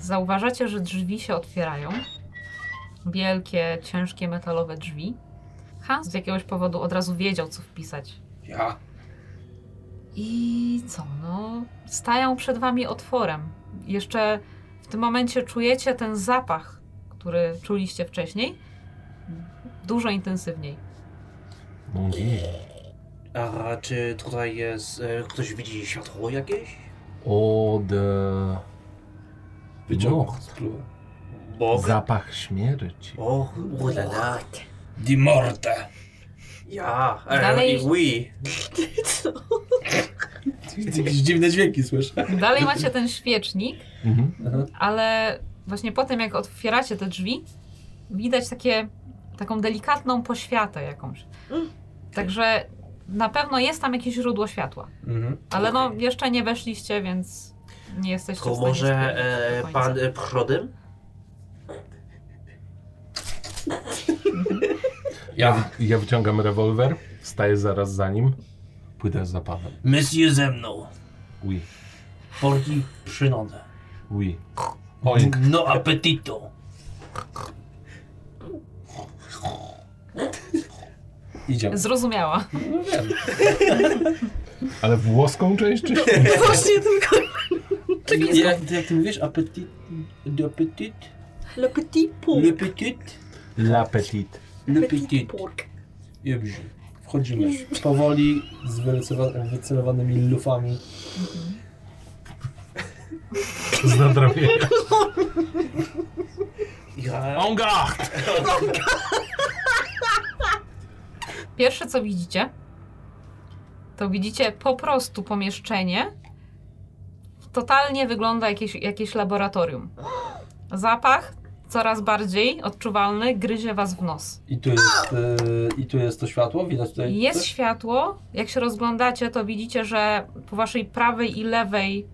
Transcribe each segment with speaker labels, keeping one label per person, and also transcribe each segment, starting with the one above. Speaker 1: Zauważacie, że drzwi się otwierają. Wielkie, ciężkie, metalowe drzwi. Hans z jakiegoś powodu od razu wiedział, co wpisać.
Speaker 2: Ja.
Speaker 1: I co, no, stają przed wami otworem. Jeszcze w tym momencie czujecie ten zapach, który czuliście wcześniej, dużo intensywniej.
Speaker 2: A czy tutaj jest. e, Ktoś widzi światło jakieś?
Speaker 3: Od...
Speaker 4: Wyciągnął.
Speaker 2: Bog.
Speaker 3: Zapach śmierci.
Speaker 2: Och, ulala.
Speaker 4: Di morte.
Speaker 2: Ja. E,
Speaker 1: Dalej-
Speaker 2: I oui.
Speaker 4: Jakieś dziwne dźwięki słyszę.
Speaker 1: Dalej macie ten świecznik,
Speaker 3: Mhm.
Speaker 1: ale właśnie po tym, jak otwieracie te drzwi, widać takie, taką delikatną poświatę jakąś. Także na pewno jest tam jakieś źródło światła.
Speaker 2: Mhm.
Speaker 1: Ale
Speaker 2: Okej.
Speaker 1: no, jeszcze nie weszliście, więc nie jesteście w
Speaker 2: To
Speaker 1: stanie
Speaker 2: może
Speaker 1: stwierdzić do
Speaker 2: e,
Speaker 1: końca.
Speaker 2: pan e, Prodym?
Speaker 3: Ja, ja wyciągam rewolwer, staję zaraz za nim, pójdę za panem.
Speaker 2: Monsieur ze mną.
Speaker 3: Oui,
Speaker 2: Porki przynodę.
Speaker 3: oui. Oink.
Speaker 2: No appetito.
Speaker 4: Idziemy.
Speaker 1: Zrozumiała.
Speaker 3: Ale włoską część czy
Speaker 5: Właśnie tylko.
Speaker 4: Jak, jak, jak ty mówisz? Apetit? Le petit?
Speaker 5: Le petit porc.
Speaker 4: Le petit?
Speaker 3: La petite.
Speaker 4: Le petit.
Speaker 5: porc.
Speaker 4: Dobrze. Wchodzimy. Powoli, z wyrysowa- wycelowanymi lufami.
Speaker 3: Z nadrobienia.
Speaker 2: Ja.
Speaker 3: En garde!
Speaker 1: Pierwsze co widzicie, to widzicie po prostu pomieszczenie. Totalnie wygląda jakieś, jakieś laboratorium. Zapach coraz bardziej odczuwalny gryzie was w nos.
Speaker 4: I tu jest, e, i tu jest to światło? Widać tutaj
Speaker 1: Jest
Speaker 4: coś?
Speaker 1: światło. Jak się rozglądacie, to widzicie, że po waszej prawej i lewej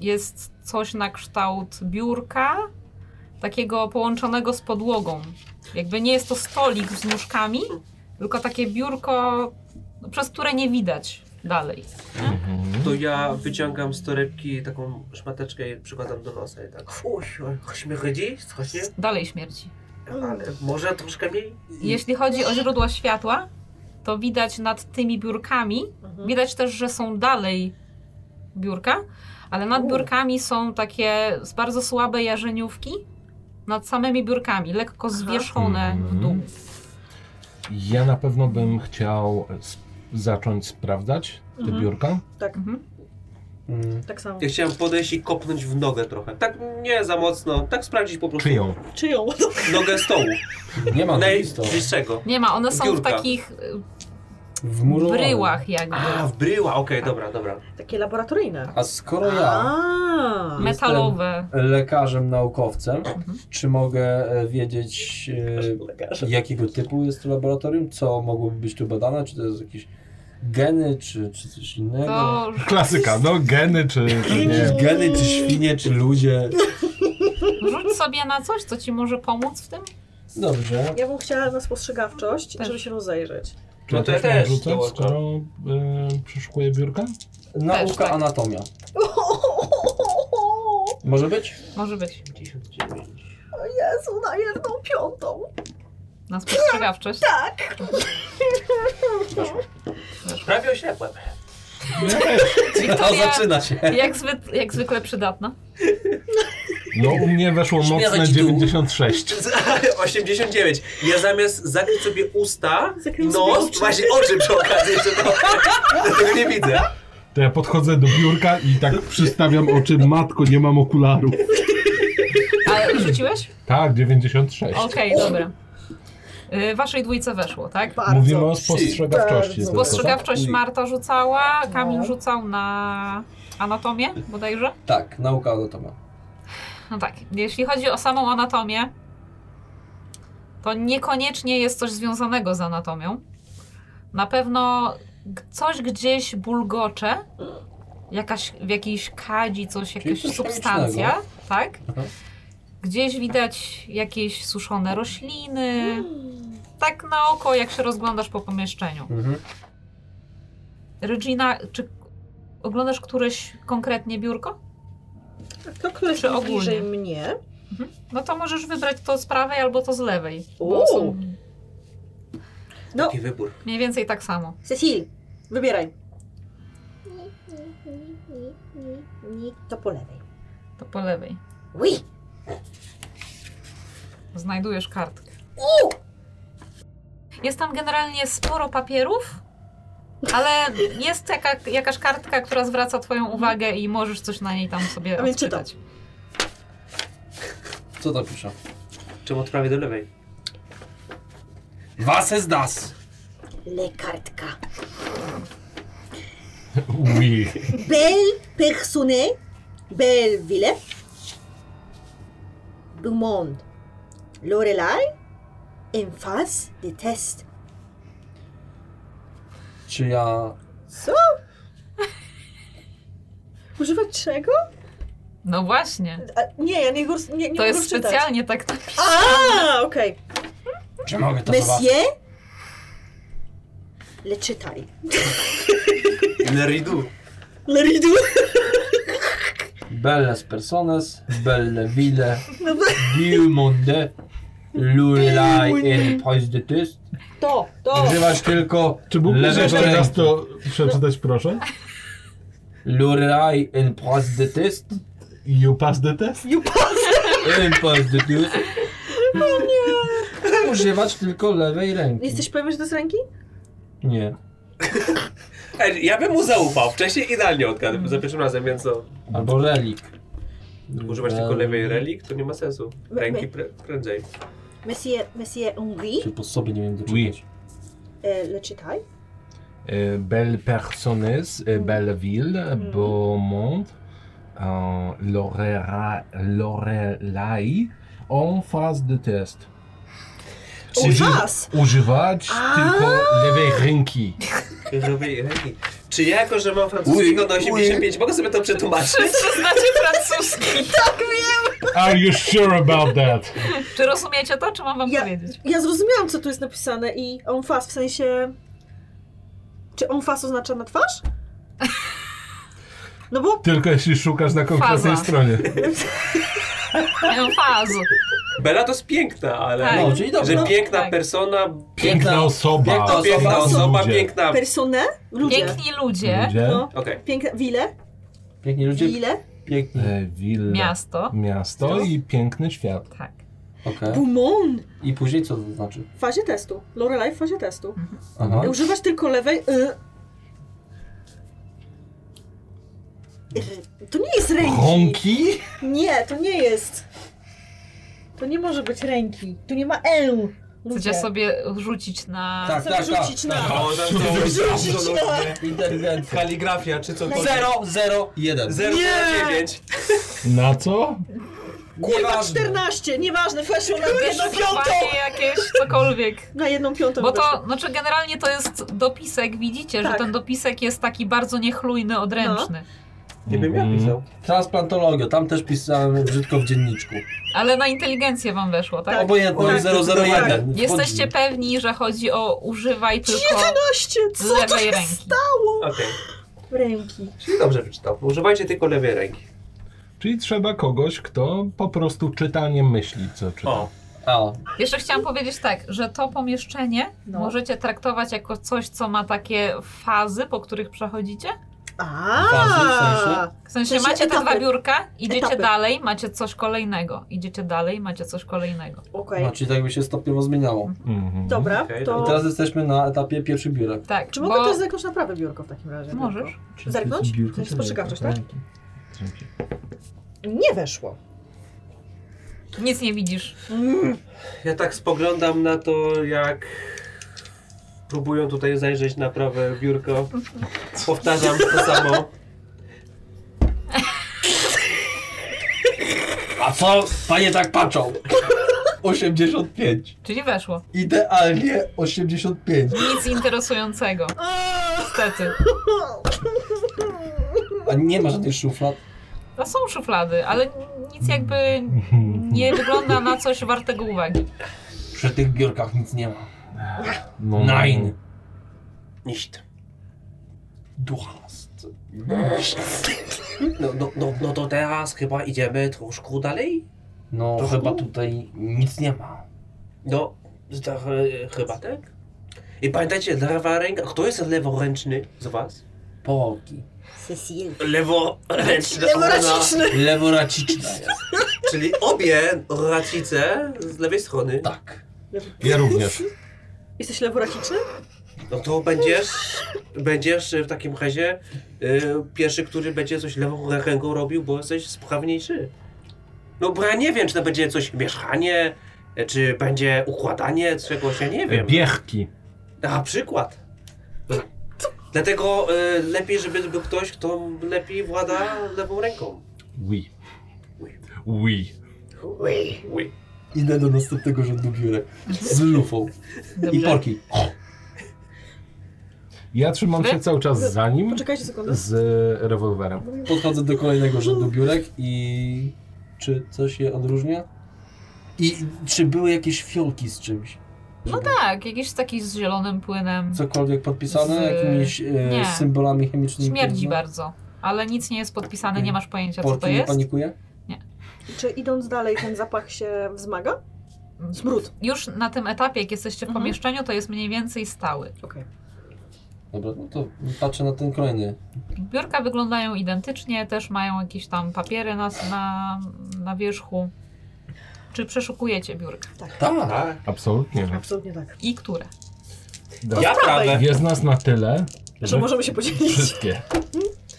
Speaker 1: jest coś na kształt biurka, takiego połączonego z podłogą. Jakby nie jest to stolik z nóżkami, tylko takie biurko, no, przez które nie widać dalej.
Speaker 3: Mhm.
Speaker 2: To ja wyciągam z torebki taką szmateczkę i przykładam do nosa i tak. Fuś, śmierdzi, strasznie,
Speaker 1: Dalej śmierci.
Speaker 2: ale może troszkę mniej.
Speaker 1: Jeśli chodzi o źródła światła, to widać nad tymi biurkami,
Speaker 5: Mhm.
Speaker 1: widać też, że są dalej biurka, ale nad
Speaker 2: U.
Speaker 1: biurkami są takie z bardzo słabe jarzeniówki nad samymi biurkami, lekko
Speaker 5: Aha.
Speaker 1: zwieszone w dół.
Speaker 3: Mhm. Ja na pewno bym chciał s- zacząć sprawdzać te
Speaker 5: Mhm.
Speaker 3: biurka.
Speaker 5: Tak,
Speaker 1: Mhm.
Speaker 4: Mm.
Speaker 5: tak samo.
Speaker 2: Ja chciałem podejść i kopnąć w nogę trochę. Tak nie za mocno, tak sprawdzić po prostu.
Speaker 3: Czyją?
Speaker 5: Czyją?
Speaker 2: Nogę stołu.
Speaker 4: Nie ma nic to.
Speaker 2: Najbliższego.
Speaker 1: Nie ma, one są
Speaker 2: Biurka.
Speaker 1: w takich y,
Speaker 4: W muru.
Speaker 1: bryłach jakby.
Speaker 2: A, w bryła, okej, dobra, dobra.
Speaker 5: Takie laboratoryjne.
Speaker 4: A skoro ja
Speaker 5: A.
Speaker 4: Me-
Speaker 1: Metalowe.
Speaker 4: lekarzem, naukowcem,
Speaker 1: Mhm.
Speaker 4: czy mogę e, wiedzieć e, jakiego typu jest to laboratorium? Co mogłoby być tu badane? Czy to jest jakieś geny, czy, czy coś innego?
Speaker 1: To
Speaker 3: Klasyka, no geny czy, czy nie.
Speaker 2: No
Speaker 4: Jakieś geny, czy świnie, czy ludzie?
Speaker 1: rzuć sobie na coś, co ci może pomóc w tym.
Speaker 4: Dobrze.
Speaker 5: Ja bym chciała na spostrzegawczość,
Speaker 1: Też.
Speaker 5: żeby się rozejrzeć.
Speaker 3: Czy ja
Speaker 2: to
Speaker 3: też
Speaker 2: ja
Speaker 3: mam
Speaker 2: też
Speaker 3: rzucać,
Speaker 2: dołączam.
Speaker 3: skoro y, przeszukuję biurka?
Speaker 4: Nauka,
Speaker 1: Też, tak.
Speaker 4: anatomia. Może być?
Speaker 1: Może być.
Speaker 2: 59.
Speaker 5: O Jezu, na jedną piątą.
Speaker 1: Na spostrzegawczość.
Speaker 5: Tak.
Speaker 2: Prawie oślepłem.
Speaker 4: To
Speaker 1: Wiktoria,
Speaker 4: zaczyna się.
Speaker 1: jak, zwy, jak zwykle przydatna.
Speaker 3: No u mnie weszło mocne
Speaker 2: Śmierć dół.
Speaker 3: 96.
Speaker 2: 89. Ja zamiast zakryć sobie usta,
Speaker 5: Zakryłem sobie
Speaker 2: nos,
Speaker 5: oczy.
Speaker 2: właśnie oczy przy okazji jeszcze to. Dlatego nie widzę.
Speaker 3: To ja podchodzę do biurka i tak przystawiam oczy, matko, nie mam okularów.
Speaker 1: Ale rzuciłeś?
Speaker 3: Tak, 96.
Speaker 1: Okej, dobra. Y, Waszej dwójce weszło, tak?
Speaker 5: Bardzo.
Speaker 3: Mówimy o spostrzegawczości.
Speaker 5: Bardzo.
Speaker 3: tylko, tak?
Speaker 1: Spostrzegawczość Marta rzucała, Kamil
Speaker 5: No.
Speaker 1: rzucał na anatomię bodajże.
Speaker 4: Tak, nauka anatomia.
Speaker 1: No tak, jeśli chodzi o samą anatomię, to niekoniecznie jest coś związanego z anatomią. Na pewno g- coś gdzieś bulgocze, jakaś, w jakiejś kadzi coś,
Speaker 4: Czyli
Speaker 1: jakaś
Speaker 4: coś
Speaker 1: substancja, tak?
Speaker 4: Aha.
Speaker 1: Gdzieś widać jakieś suszone rośliny,
Speaker 5: Mm.
Speaker 1: tak na oko, jak się rozglądasz po pomieszczeniu.
Speaker 4: Mhm.
Speaker 1: Regina, czy oglądasz któreś konkretnie biurko?
Speaker 5: Tak, To koleś
Speaker 1: Czy ogólnie?
Speaker 5: bliżej mnie.
Speaker 1: No to możesz wybrać to z prawej albo to z lewej. Bo
Speaker 5: Mhm. Uuu.
Speaker 1: są
Speaker 5: No,
Speaker 2: Taki wybór.
Speaker 1: mniej więcej tak samo.
Speaker 5: Cecil, wybieraj.
Speaker 6: Nie, nie, nie, nie, nie, nie.
Speaker 5: To po lewej.
Speaker 1: To po lewej.
Speaker 5: Ui!
Speaker 1: Znajdujesz kartkę. Jest tam generalnie sporo papierów, ale jest jaka, jakaś kartka, która zwraca twoją uwagę i możesz coś na niej tam sobie
Speaker 5: Mhm. A więc czytam.
Speaker 1: odczytać.
Speaker 4: Co tam pisze?
Speaker 2: Czemu od prawej do lewej?
Speaker 4: Was ist das!
Speaker 6: Lekartka.
Speaker 3: Ui.
Speaker 6: Belle personne, belle ville. Du monde. Lorelai, en face de test.
Speaker 4: Czy ja
Speaker 5: Co? Używać czego?
Speaker 1: No właśnie.
Speaker 5: A, nie, ja nie, gór, nie, nie
Speaker 1: To
Speaker 5: umiem
Speaker 1: jest
Speaker 5: czytać.
Speaker 1: specjalnie tak napisane.
Speaker 5: A, okej.
Speaker 4: Czy mogę to zobaczyć?
Speaker 6: Monsieur, le czytaj.
Speaker 2: Neridu.
Speaker 5: Leridu.
Speaker 4: Belles personas, belle ville,
Speaker 5: No, bo-
Speaker 4: du monde, lulaj in poise de test.
Speaker 5: to, to.
Speaker 4: Używać tylko
Speaker 7: Czy mógłbyś
Speaker 4: lewego
Speaker 7: jeszcze raz
Speaker 4: ręku.
Speaker 7: to przeczytać, proszę?
Speaker 4: Lulaj in poise de test.
Speaker 7: You pass the test?
Speaker 5: You pass.
Speaker 4: In poise de test. Używać tylko lewej ręki.
Speaker 5: Jesteś pewien, że to jest ręki?
Speaker 4: Nie.
Speaker 2: Ej, ja bym mu zaufał. Wcześniej idealnie odgadłem za pierwszym razem, więc co?
Speaker 4: Albo relik.
Speaker 2: Używać tylko lewej relik? To nie ma sensu. Ręki
Speaker 5: My-
Speaker 2: pre- prędzej.
Speaker 6: Monsieur, monsieur Henri,
Speaker 4: Czy po sobie nie wiem
Speaker 3: Oui.
Speaker 4: doczytać.
Speaker 6: e, le czytaj.
Speaker 3: E, Belle Personnes, e, Belleville, Beaumont, e, Lorera- Lorelai, en face de test.
Speaker 5: U was!
Speaker 3: używać tylko lewej ręki.
Speaker 2: Lewej ręki. Czy ja jako, że mam francuskiego na 85, mogę sobie to przetłumaczyć?
Speaker 1: Wszyscy znacie francuski.
Speaker 3: Are you sure about that?
Speaker 1: Czy rozumiecie to, czy mam wam
Speaker 5: Ja-
Speaker 1: powiedzieć?
Speaker 5: Ja zrozumiałam, co tu jest napisane i on fast, w sensie... Czy on fast oznacza na twarz? No bo...
Speaker 3: Tylko jeśli szukasz na konkretnej
Speaker 1: Faza.
Speaker 3: stronie.
Speaker 1: Faz.
Speaker 2: Bela to jest piękna, ale...
Speaker 1: Tak.
Speaker 4: No, czyli dobrze.
Speaker 2: Że
Speaker 4: No.
Speaker 2: piękna
Speaker 1: tak.
Speaker 2: persona,
Speaker 3: Piękna osoba.
Speaker 4: Piękna osoba,
Speaker 2: piękna osoba, piękna...
Speaker 5: Personę? Ludzie.
Speaker 1: Piękni ludzie,
Speaker 3: Ludzie.
Speaker 5: No.
Speaker 2: Okej.
Speaker 5: Piękne... Wile?
Speaker 4: Piękni ludzie,
Speaker 5: Wile?
Speaker 4: piękni.
Speaker 3: E, Willa.
Speaker 1: miasto.
Speaker 3: Miasto i piękny świat.
Speaker 1: Tak.
Speaker 4: Okej.
Speaker 5: Bumon!
Speaker 4: I później co to znaczy?
Speaker 5: W fazie testu. Lorelai w fazie testu.
Speaker 4: Mhm. Aha.
Speaker 5: Używasz tylko lewej... Y. Y, To nie jest ręki!
Speaker 3: Rąki?
Speaker 5: Nie, to nie jest. To nie może być ręki. Tu nie ma L.
Speaker 1: Chcecie sobie rzucić na...
Speaker 4: Tak, tak,
Speaker 5: rzucić
Speaker 4: tak,
Speaker 5: na-
Speaker 4: tak.
Speaker 2: O, tam są-
Speaker 4: Absolutnie. Inteligencja.
Speaker 2: Kaligrafia, czy co to?
Speaker 4: Zero, zero, jeden.
Speaker 2: 0,9.
Speaker 3: Na co?
Speaker 5: Kurwa,
Speaker 4: Nieważne.
Speaker 5: 14, nieważne, weszło na jedną piątą.
Speaker 1: Wyszukiwanie jakieś, cokolwiek.
Speaker 5: Na jedną piątą
Speaker 1: Bo
Speaker 5: weszło.
Speaker 1: to, znaczy generalnie to jest dopisek, widzicie, że
Speaker 5: Tak. No.
Speaker 1: ten dopisek jest taki bardzo niechlujny, odręczny.
Speaker 2: Nie bym ja
Speaker 3: Mhm.
Speaker 2: pisał.
Speaker 4: Transplantologia, tam też pisałem brzydko w dzienniczku.
Speaker 1: Ale na inteligencję wam weszło, tak?
Speaker 5: Tak.
Speaker 4: Obojętne
Speaker 5: Tak,
Speaker 4: 001.
Speaker 5: tak.
Speaker 4: Wchodzi.
Speaker 1: Jesteście pewni, że chodzi o używaj tylko
Speaker 5: 14, co to
Speaker 1: lewej
Speaker 5: jest? Tak.
Speaker 1: ręki.
Speaker 2: Okej.
Speaker 5: Ręki.
Speaker 2: Czyli dobrze wyczytał. Używajcie tylko lewej ręki.
Speaker 3: Czyli trzeba kogoś, kto po prostu czytaniem myśli, co czyta.
Speaker 2: O.
Speaker 4: A,
Speaker 1: Jeszcze chciałam powiedzieć tak, że to pomieszczenie
Speaker 5: No.
Speaker 1: możecie traktować jako coś, co ma takie fazy, po których przechodzicie.
Speaker 4: Fazy, w sensie?
Speaker 5: A.
Speaker 1: W sensie
Speaker 5: sensie
Speaker 1: macie te
Speaker 5: etapy.
Speaker 1: dwa biurka, idziecie
Speaker 5: Etapy.
Speaker 1: dalej, macie coś kolejnego. Idziecie dalej, macie coś kolejnego.
Speaker 5: Okej.
Speaker 4: no, czyli tak by się stopniowo zmieniało.
Speaker 3: Mhm.
Speaker 5: Dobra,
Speaker 2: Okej,
Speaker 4: I
Speaker 5: to.
Speaker 4: teraz jesteśmy na etapie pierwszych biurek.
Speaker 1: Tak,
Speaker 5: Czy
Speaker 1: bo...
Speaker 5: mogę też jakąś na prawe biurko w takim razie?
Speaker 1: Możesz.
Speaker 5: Zerknąć? To jest spostrzegawczość, tak? Nie weszło.
Speaker 1: Nic nie widzisz. Mm.
Speaker 2: Ja tak spoglądam na to, jak próbują tutaj zajrzeć na prawe biurko. Powtarzam to samo.
Speaker 4: A co? Panie tak patrzą. 85.
Speaker 1: Czyli weszło.
Speaker 4: Idealnie 85.
Speaker 1: Nic interesującego. Niestety.
Speaker 4: A nie ma żadnych szuflad.
Speaker 1: To są szuflady, ale nic jakby nie wygląda na coś wartego uwagi.
Speaker 4: Przy tych biurkach nic nie ma.
Speaker 3: No,
Speaker 4: Nine.
Speaker 2: Nicht.
Speaker 4: Du hast.
Speaker 2: No, no, no, no to teraz chyba idziemy troszkę dalej.
Speaker 4: No
Speaker 2: To
Speaker 4: chyba
Speaker 2: chuj.
Speaker 4: tutaj nic nie ma.
Speaker 2: No, to, e, chyba tak. I pamiętajcie, lewa ręka. Kto jest leworęczny z was?
Speaker 4: Połoki.
Speaker 5: Cecil.
Speaker 2: Leworęczny.
Speaker 5: Leworęczny.
Speaker 4: Leworaciczna jest.
Speaker 2: Czyli obie racice z lewej strony.
Speaker 4: Tak.
Speaker 3: Ja również.
Speaker 5: Jesteś leworaciczny?
Speaker 2: No to będziesz, będziesz w takim razie y, pierwszy, który będzie coś lewą ręką robił, bo jesteś sprawniejszy. No bo ja nie wiem, czy to będzie coś mieszanie, e, czy będzie układanie czegoś, ja nie
Speaker 3: E,
Speaker 2: wiem.
Speaker 3: Biechki.
Speaker 2: Na przykład. Dlatego y, lepiej, żeby był ktoś, kto lepiej włada lewą ręką.
Speaker 3: Ui. Ui.
Speaker 2: Ui.
Speaker 4: Idę do następnego rzędu biurek. Z lufą. I
Speaker 1: Dobrze.
Speaker 4: porki.
Speaker 3: Ja trzymam się
Speaker 1: Wy?
Speaker 3: cały czas za nim
Speaker 5: Poczekajcie sekundę.
Speaker 3: z rewolwerem.
Speaker 4: Podchodzę do kolejnego rzędu biurek i... Czy coś je odróżnia? I czy były jakieś fiolki z czymś?
Speaker 1: No tak, jakiś taki z zielonym płynem.
Speaker 4: Cokolwiek podpisane?
Speaker 1: Z-
Speaker 4: Jakimiś e,
Speaker 1: nie.
Speaker 4: symbolami chemicznymi?
Speaker 1: Śmierdzi
Speaker 4: podobno?
Speaker 1: bardzo, ale nic nie jest podpisane, nie masz pojęcia co
Speaker 4: Porki
Speaker 1: to
Speaker 4: nie
Speaker 1: jest.
Speaker 4: panikuje?
Speaker 5: Czy idąc dalej ten zapach się wzmaga? Mm, Smród.
Speaker 1: Już na tym etapie, jak jesteście w
Speaker 5: Mhm.
Speaker 1: pomieszczeniu, to jest mniej więcej stały.
Speaker 5: Okej.
Speaker 4: Dobra, no to patrzę na ten kolejny.
Speaker 1: Biurka wyglądają identycznie, też mają jakieś tam papiery na, na, na wierzchu. Czy przeszukujecie biurka?
Speaker 4: Tak.
Speaker 2: Tak.
Speaker 3: Absolutnie.
Speaker 5: Absolutnie tak.
Speaker 1: I które?
Speaker 3: Dobra.
Speaker 2: Ja prawe.
Speaker 3: Jest nas na tyle,
Speaker 5: Że
Speaker 4: Mhm.
Speaker 3: że
Speaker 5: możemy się podzielić.
Speaker 3: wszystkie.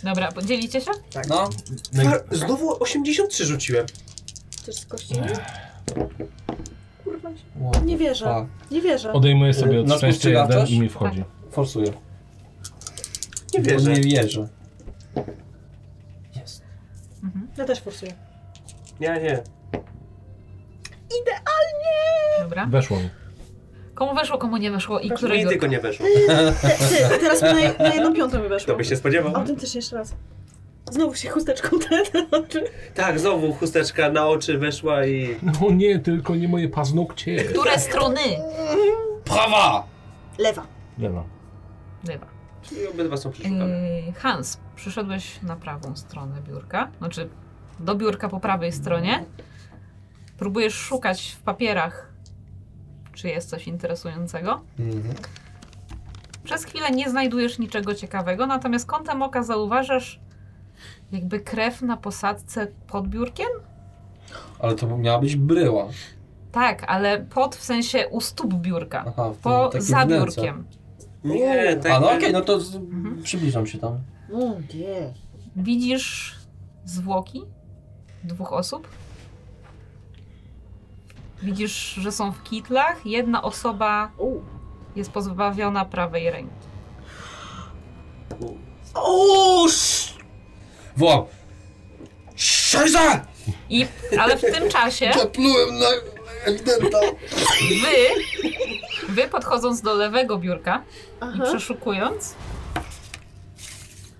Speaker 1: Dobra, podzielicie się?
Speaker 4: No,
Speaker 3: Naj-
Speaker 2: Znowu 83 rzuciłem.
Speaker 5: Chcesz z kości? Kurwa się.
Speaker 4: What
Speaker 5: Nie
Speaker 4: the
Speaker 5: wierzę.
Speaker 4: fuck.
Speaker 5: Nie wierzę.
Speaker 3: Odejmuję sobie
Speaker 4: Na
Speaker 3: od szczęścia jeden
Speaker 4: spostrzegawczość?
Speaker 3: i mi wchodzi.
Speaker 4: Forsuję.
Speaker 2: Nie
Speaker 4: Bo
Speaker 2: wierzę.
Speaker 4: No Nie wierzę. Jest.
Speaker 1: Mhm.
Speaker 5: Ja też forsuję.
Speaker 2: Nie, nie.
Speaker 1: Dobra.
Speaker 3: Weszło mi.
Speaker 1: Komu weszło, komu nie weszło i
Speaker 2: Mi
Speaker 1: którego?
Speaker 2: tylko nie weszło.
Speaker 5: Te, ty, teraz mi na, na jedną piątą mi weszło.
Speaker 2: To by się spodziewał.
Speaker 5: Autentycznie jeszcze raz. Znowu się chusteczką te, te oczy.
Speaker 2: Tak, znowu chusteczka na oczy weszła i...
Speaker 3: No nie, tylko nie moje paznokcie.
Speaker 1: Które strony?
Speaker 4: Prawa!
Speaker 5: Lewa.
Speaker 3: Lewa.
Speaker 1: Lewa.
Speaker 2: I obydwa są przeszukane.
Speaker 1: Yy, Hans, przyszedłeś na prawą stronę biurka, znaczy do biurka po prawej stronie. Próbujesz szukać w papierach, czy jest coś interesującego.
Speaker 4: Mhm.
Speaker 1: Przez chwilę nie znajdujesz niczego ciekawego, natomiast kątem oka zauważasz jakby krew na posadce pod biurkiem?
Speaker 4: Ale to miała być bryła.
Speaker 1: Tak, ale pod w sensie u stóp biurka.
Speaker 4: Aha, w
Speaker 1: Po
Speaker 4: takim
Speaker 1: za
Speaker 4: wnęce.
Speaker 1: biurkiem.
Speaker 2: Nie, tak.
Speaker 4: A no okej, no to z...
Speaker 1: Mhm.
Speaker 4: przybliżam się tam.
Speaker 5: O, nie.
Speaker 1: Widzisz zwłoki dwóch osób. Widzisz, że są w kitlach. Jedna osoba jest pozbawiona prawej ręki.
Speaker 4: O! Wołam! Szajza!
Speaker 1: I, ale w tym czasie
Speaker 4: Zaplułem na ewidenta.
Speaker 1: wy, wy podchodząc do lewego biurka i
Speaker 5: Aha.
Speaker 1: przeszukując,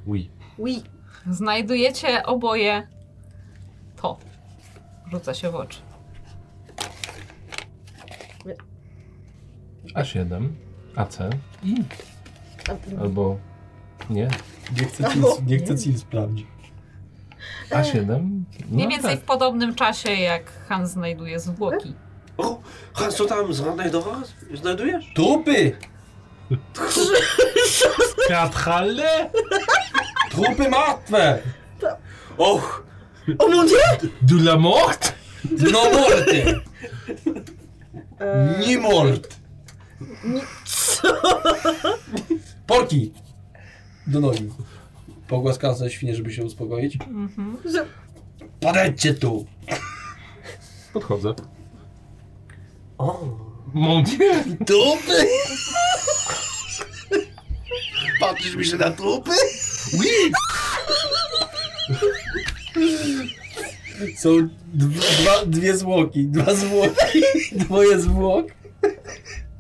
Speaker 3: Ui.
Speaker 5: Ui.
Speaker 1: Znajdujecie oboje to. Rzuca się w oczy.
Speaker 3: A7, AC i. Albo. Nie.
Speaker 4: Nie chcę ci,
Speaker 5: Albo-
Speaker 4: nie chcę ci sprawdzić.
Speaker 3: A7. No
Speaker 1: Mniej więcej
Speaker 3: tak.
Speaker 1: w podobnym czasie, jak Han znajduje zwłoki.
Speaker 2: O, Hans, co tam znajdowałaś? znajdujesz?
Speaker 4: Trupy!
Speaker 7: Kathale?
Speaker 4: Trupy martwe!
Speaker 2: Och,
Speaker 5: O mój Dieu!
Speaker 3: Du la mort?
Speaker 4: No morty!
Speaker 5: E,
Speaker 4: Nie mord! Porki! Do nogi. Pogłaskam sobie świnie, żeby się uspokoić.
Speaker 1: Mhm.
Speaker 5: że-
Speaker 4: Podejdźcie tu!
Speaker 3: Podchodzę.
Speaker 2: o,
Speaker 3: Mon dieu!
Speaker 4: Trupy! Patrzysz mi się na trupy? Są dw- dwa, dwie zwłoki, dwa zwłoki, dwoje zwłok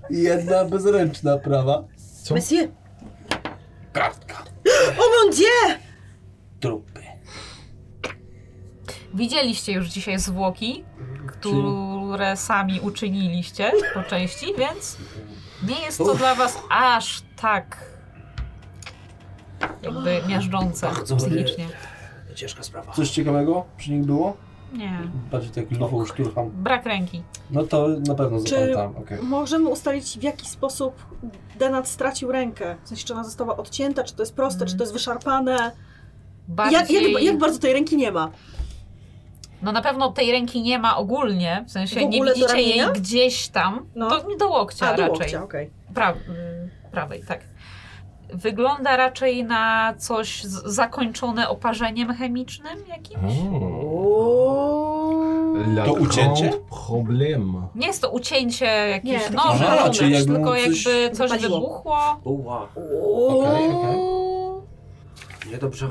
Speaker 4: i jedna bezręczna prawa.
Speaker 5: Monsieur!
Speaker 4: Kartka.
Speaker 5: O mon Dieu!
Speaker 4: Trupy.
Speaker 1: Widzieliście już dzisiaj zwłoki, które sami uczyniliście po części, więc nie jest to
Speaker 2: Uff.
Speaker 1: dla was aż tak jakby miażdżące
Speaker 2: Bardzo
Speaker 1: psychicznie.
Speaker 2: ciężka sprawa.
Speaker 4: Coś ciekawego przy nich było?
Speaker 1: Nie.
Speaker 4: Bardziej tak lufą szturcham.
Speaker 1: Brak ręki.
Speaker 4: No to na pewno
Speaker 5: Czy-
Speaker 4: zapamiętam. okej.
Speaker 5: Możemy ustalić, w jaki sposób Denat stracił rękę. W sensie, czy ona została odcięta, czy to jest proste,
Speaker 1: Mhm.
Speaker 5: czy to jest wyszarpane.
Speaker 1: Bardziej...
Speaker 5: Jak, jak, jak bardzo tej ręki nie ma?
Speaker 1: No na pewno tej ręki nie ma ogólnie, w sensie
Speaker 5: W
Speaker 1: nie
Speaker 5: ogóle do
Speaker 1: widzicie jej
Speaker 5: ramienia?
Speaker 1: gdzieś tam.
Speaker 5: No.
Speaker 1: To do łokcia
Speaker 5: A, do
Speaker 1: raczej.
Speaker 5: łokcia, okej.
Speaker 1: Pra... mm, Prawej, tak. Wygląda raczej na coś z- zakończone oparzeniem chemicznym jakimś.
Speaker 4: Mhm.
Speaker 3: La
Speaker 7: To ucięcie?
Speaker 3: Oh. grande Problem.
Speaker 1: Nie jest to ucięcie
Speaker 5: Nie,
Speaker 1: jakimś
Speaker 5: taki
Speaker 1: nożem,
Speaker 5: Aha,
Speaker 1: czy
Speaker 4: czyli
Speaker 1: coś,
Speaker 4: No, jakby mu
Speaker 1: tylko
Speaker 4: coś
Speaker 1: jakby coś
Speaker 5: wypaliło.
Speaker 1: wybuchło.
Speaker 2: Uła.
Speaker 3: Okej, okej.
Speaker 2: Nie dobrze.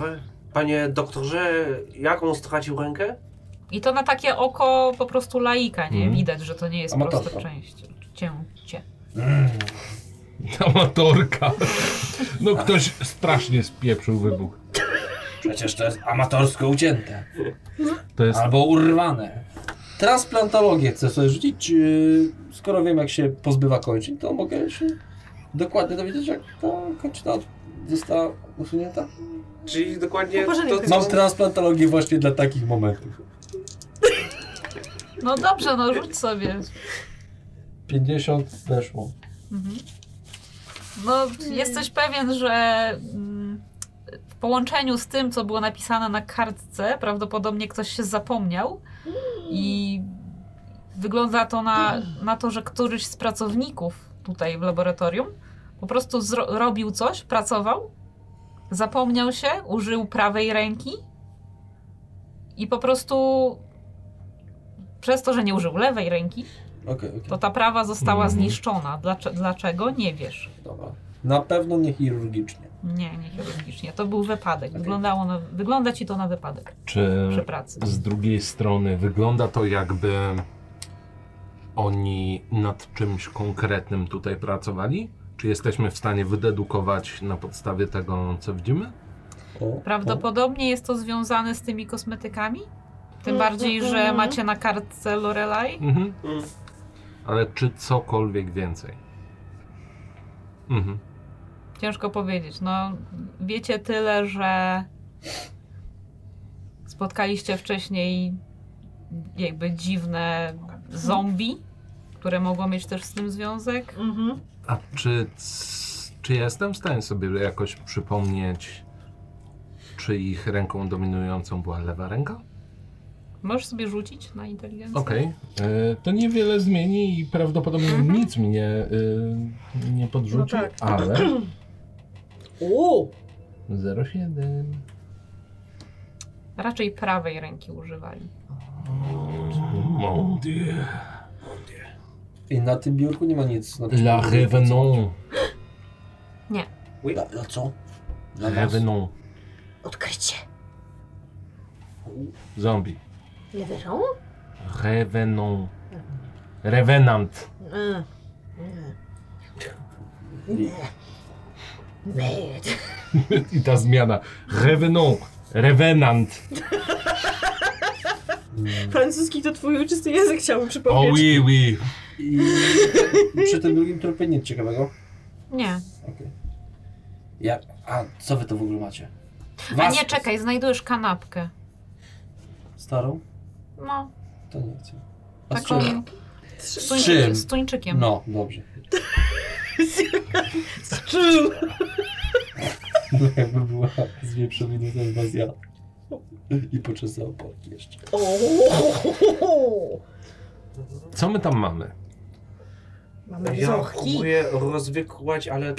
Speaker 2: Panie doktorze, jaką stracił rękę?
Speaker 1: I to na takie oko po prostu laika, nie?
Speaker 3: Mhm.
Speaker 1: Widać, że to nie jest
Speaker 4: Amatorka.
Speaker 1: proste część. Cięcie.
Speaker 3: Amatorka. No ktoś strasznie spieprzył wybuch.
Speaker 4: Przecież to jest amatorsko ucięte.
Speaker 3: To jest...
Speaker 4: Albo urwane. Transplantologię chcę sobie rzucić. Czy, skoro wiem, jak się pozbywa kończyn, to mogę się dokładnie dowiedzieć, jak ta kończyna została usunięta?
Speaker 2: Czyli dokładnie
Speaker 5: Poparzenie
Speaker 2: to,
Speaker 5: tylko.
Speaker 2: co...
Speaker 4: Mam transplantologię właśnie dla takich momentów.
Speaker 1: No dobrze, no rzuć sobie.
Speaker 4: 50 zeszło.
Speaker 1: Mhm. No, jesteś pewien, że mm, w połączeniu z tym, co było napisane na kartce, prawdopodobnie ktoś się zapomniał i wygląda to na, na to, że któryś z pracowników tutaj w laboratorium po prostu zro- robił coś, pracował, zapomniał się, użył prawej ręki i po prostu przez to, że nie użył lewej ręki,
Speaker 4: Okej, okej,
Speaker 1: to ta prawa została
Speaker 3: Mhm.
Speaker 1: zniszczona. Dlacze, dlaczego? Nie wiesz.
Speaker 4: dobra. Na pewno nie chirurgicznie.
Speaker 1: Nie, nie chirurgicznie. To był wypadek. Wyglądało na, wygląda ci to na wypadek
Speaker 3: Czy
Speaker 1: przy pracy.
Speaker 3: z drugiej strony wygląda to jakby oni nad czymś konkretnym tutaj pracowali? Czy jesteśmy w stanie wydedukować na podstawie tego, co widzimy?
Speaker 4: O, o.
Speaker 1: Prawdopodobnie jest to związane z tymi kosmetykami. Tym
Speaker 5: Mm,
Speaker 1: bardziej,
Speaker 5: mm,
Speaker 1: że
Speaker 5: mm.
Speaker 1: macie na kartce Lorelai.
Speaker 3: Mhm.
Speaker 2: Mm.
Speaker 3: Ale czy cokolwiek więcej? Mhm.
Speaker 1: Ciężko powiedzieć. No, wiecie tyle, że spotkaliście wcześniej jakby dziwne zombie, które mogą mieć też z tym związek.
Speaker 5: Mhm.
Speaker 3: A czy, c- czy jestem w stanie sobie jakoś przypomnieć, czy ich ręką dominującą była lewa ręka?
Speaker 1: Możesz sobie rzucić na inteligencję?
Speaker 3: Okej. E, To niewiele zmieni i prawdopodobnie
Speaker 1: Mhm.
Speaker 3: nic mnie y, nie podrzuci,
Speaker 5: No tak.
Speaker 3: ale
Speaker 5: Uuu.
Speaker 3: 0,7.
Speaker 1: Raczej prawej ręki używali.
Speaker 3: Mon dieu.
Speaker 4: I na tym biurku nie ma nic. znaczy-
Speaker 3: La Revenant.
Speaker 4: Dla, dla co? Dla nas?
Speaker 3: Revenant.
Speaker 5: Odkrycie.
Speaker 3: Zombie.
Speaker 5: Lewerą?
Speaker 3: Revenant.
Speaker 5: Mhm.
Speaker 3: Revenant.
Speaker 5: Nie. Mm. Nie. Nie.
Speaker 3: I ta zmiana. Revenant. Revenant.
Speaker 5: Francuski to twój ojczysty język, chciałbym
Speaker 3: O
Speaker 5: przypomnieć.
Speaker 3: oui, oui.
Speaker 4: I przy tym drugim trupie nic ciekawego.
Speaker 1: Nie.
Speaker 4: Okej. Jak? A co wy to w ogóle macie?
Speaker 1: A
Speaker 4: Was-
Speaker 1: nie, czekaj, znajdujesz kanapkę.
Speaker 4: Starą?
Speaker 1: No,
Speaker 4: To nie chcę. A z
Speaker 1: taką...
Speaker 4: czym?
Speaker 1: Z,
Speaker 4: czym?
Speaker 1: tuńczyk, z tuńczykiem.
Speaker 4: No, dobrze.
Speaker 5: Z czym?
Speaker 4: No jakby była z wieprzowiny, to chyba zjadł. I poczesał porki jeszcze.
Speaker 5: O!
Speaker 3: Co my tam mamy?
Speaker 5: Mamy
Speaker 2: Ja
Speaker 5: wzorki.
Speaker 2: próbuję rozwikłać, ale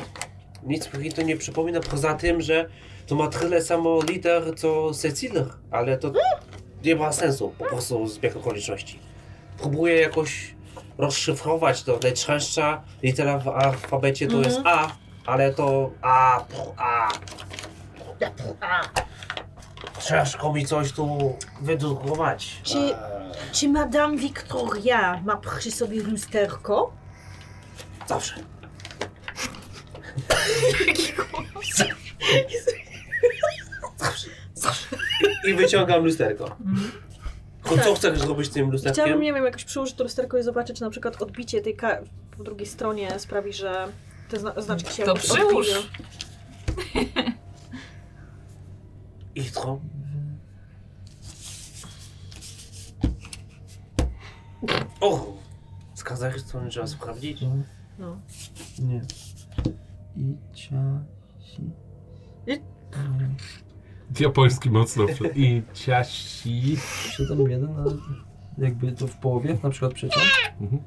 Speaker 2: nic mi to nie przypomina, poza tym, że to ma tyle samo liter, co Cecilia, ale to nie ma sensu, po prostu zbieg okoliczności. Próbuję jakoś rozszyfrować to, najczęstsza litera w alfabecie to
Speaker 5: Mhm.
Speaker 2: jest A, ale to A, p, A. Ciężko mi coś tu wydrukować.
Speaker 5: Czy, czy Madame Victoria ma przy sobie lusterko?
Speaker 2: Zawsze. I wyciągam lusterko.
Speaker 1: Mhm.
Speaker 2: Tylko Co chcesz zrobić z tym
Speaker 5: Chciałabym,
Speaker 2: lusterkiem?
Speaker 5: nie wiem, jakoś przyłożyć to lusterko i zobaczyć, czy na przykład odbicie tej ka- po drugiej stronie sprawi, że te zna- znaczki się
Speaker 1: To
Speaker 5: jakoś
Speaker 1: przyłóż.
Speaker 5: odbiją.
Speaker 2: I to. O! Z Kazachstanu trzeba sprawdzić.
Speaker 5: No.
Speaker 4: Nie. I cia...
Speaker 5: I-
Speaker 4: 7,
Speaker 3: Japoński mocno. w- I ciasi.
Speaker 4: 1, ale jakby to w połowie na przykład przeciąg?
Speaker 3: Mhm.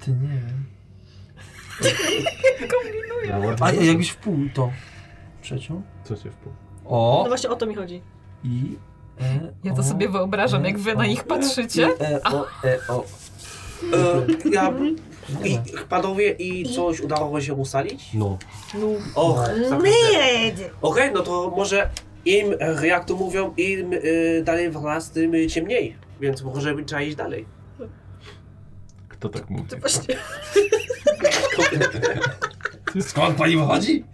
Speaker 4: Ty nie. A
Speaker 3: Ładnie.
Speaker 4: jakbyś w pół to przeciąg?
Speaker 3: Co się wpływa?
Speaker 5: No
Speaker 4: O
Speaker 5: właśnie o to mi chodzi.
Speaker 4: i e,
Speaker 1: Ja to
Speaker 4: o,
Speaker 1: sobie wyobrażam, jak wy na nich patrzycie.
Speaker 4: I, Mhm. E, o, e, o.
Speaker 2: E, ja,
Speaker 4: Nie
Speaker 2: i,
Speaker 4: ma.
Speaker 2: panowie, i coś udało się ustalić?
Speaker 3: No.
Speaker 2: Och, zapewne.
Speaker 5: Nie!
Speaker 2: Okej, no to może im, e, jak to mówią, im e, dalej w las, tym e, ciemniej. Więc może by trzeba iść dalej.
Speaker 3: Kto tak mówi?
Speaker 5: Ty właśnie.
Speaker 4: Skąd pani wychodzi?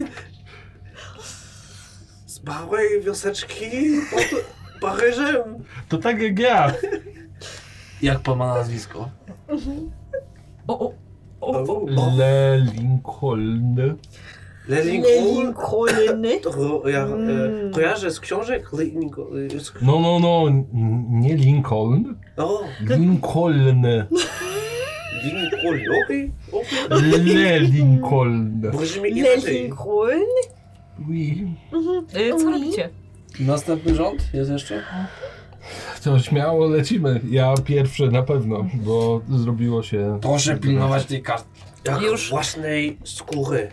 Speaker 2: Z małej wioseczki pod Paryżem.
Speaker 7: To tak jak ja.
Speaker 4: Jak pan ma nazwisko?
Speaker 1: O, o, o, o.
Speaker 3: Le Lincoln.
Speaker 2: Lelingun.
Speaker 5: Lincolny.
Speaker 2: To ja e,
Speaker 5: Mm.
Speaker 2: kojarzę z książek e, Lelingun.
Speaker 3: No, no, no. n- Nie Lincoln.
Speaker 2: O,
Speaker 3: Lincoln.
Speaker 2: Lingun, okej, okej.
Speaker 3: Le Lincoln.
Speaker 2: Brzmi inaczej.
Speaker 5: Lincoln?
Speaker 3: Oui.
Speaker 1: Y, Co robicie?
Speaker 4: Następny rząd jest jeszcze?
Speaker 3: To śmiało lecimy. Ja pierwszy na pewno, bo zrobiło się.
Speaker 4: Proszę pilnować tej karty.
Speaker 2: Jak
Speaker 1: Już.
Speaker 2: własnej skóry.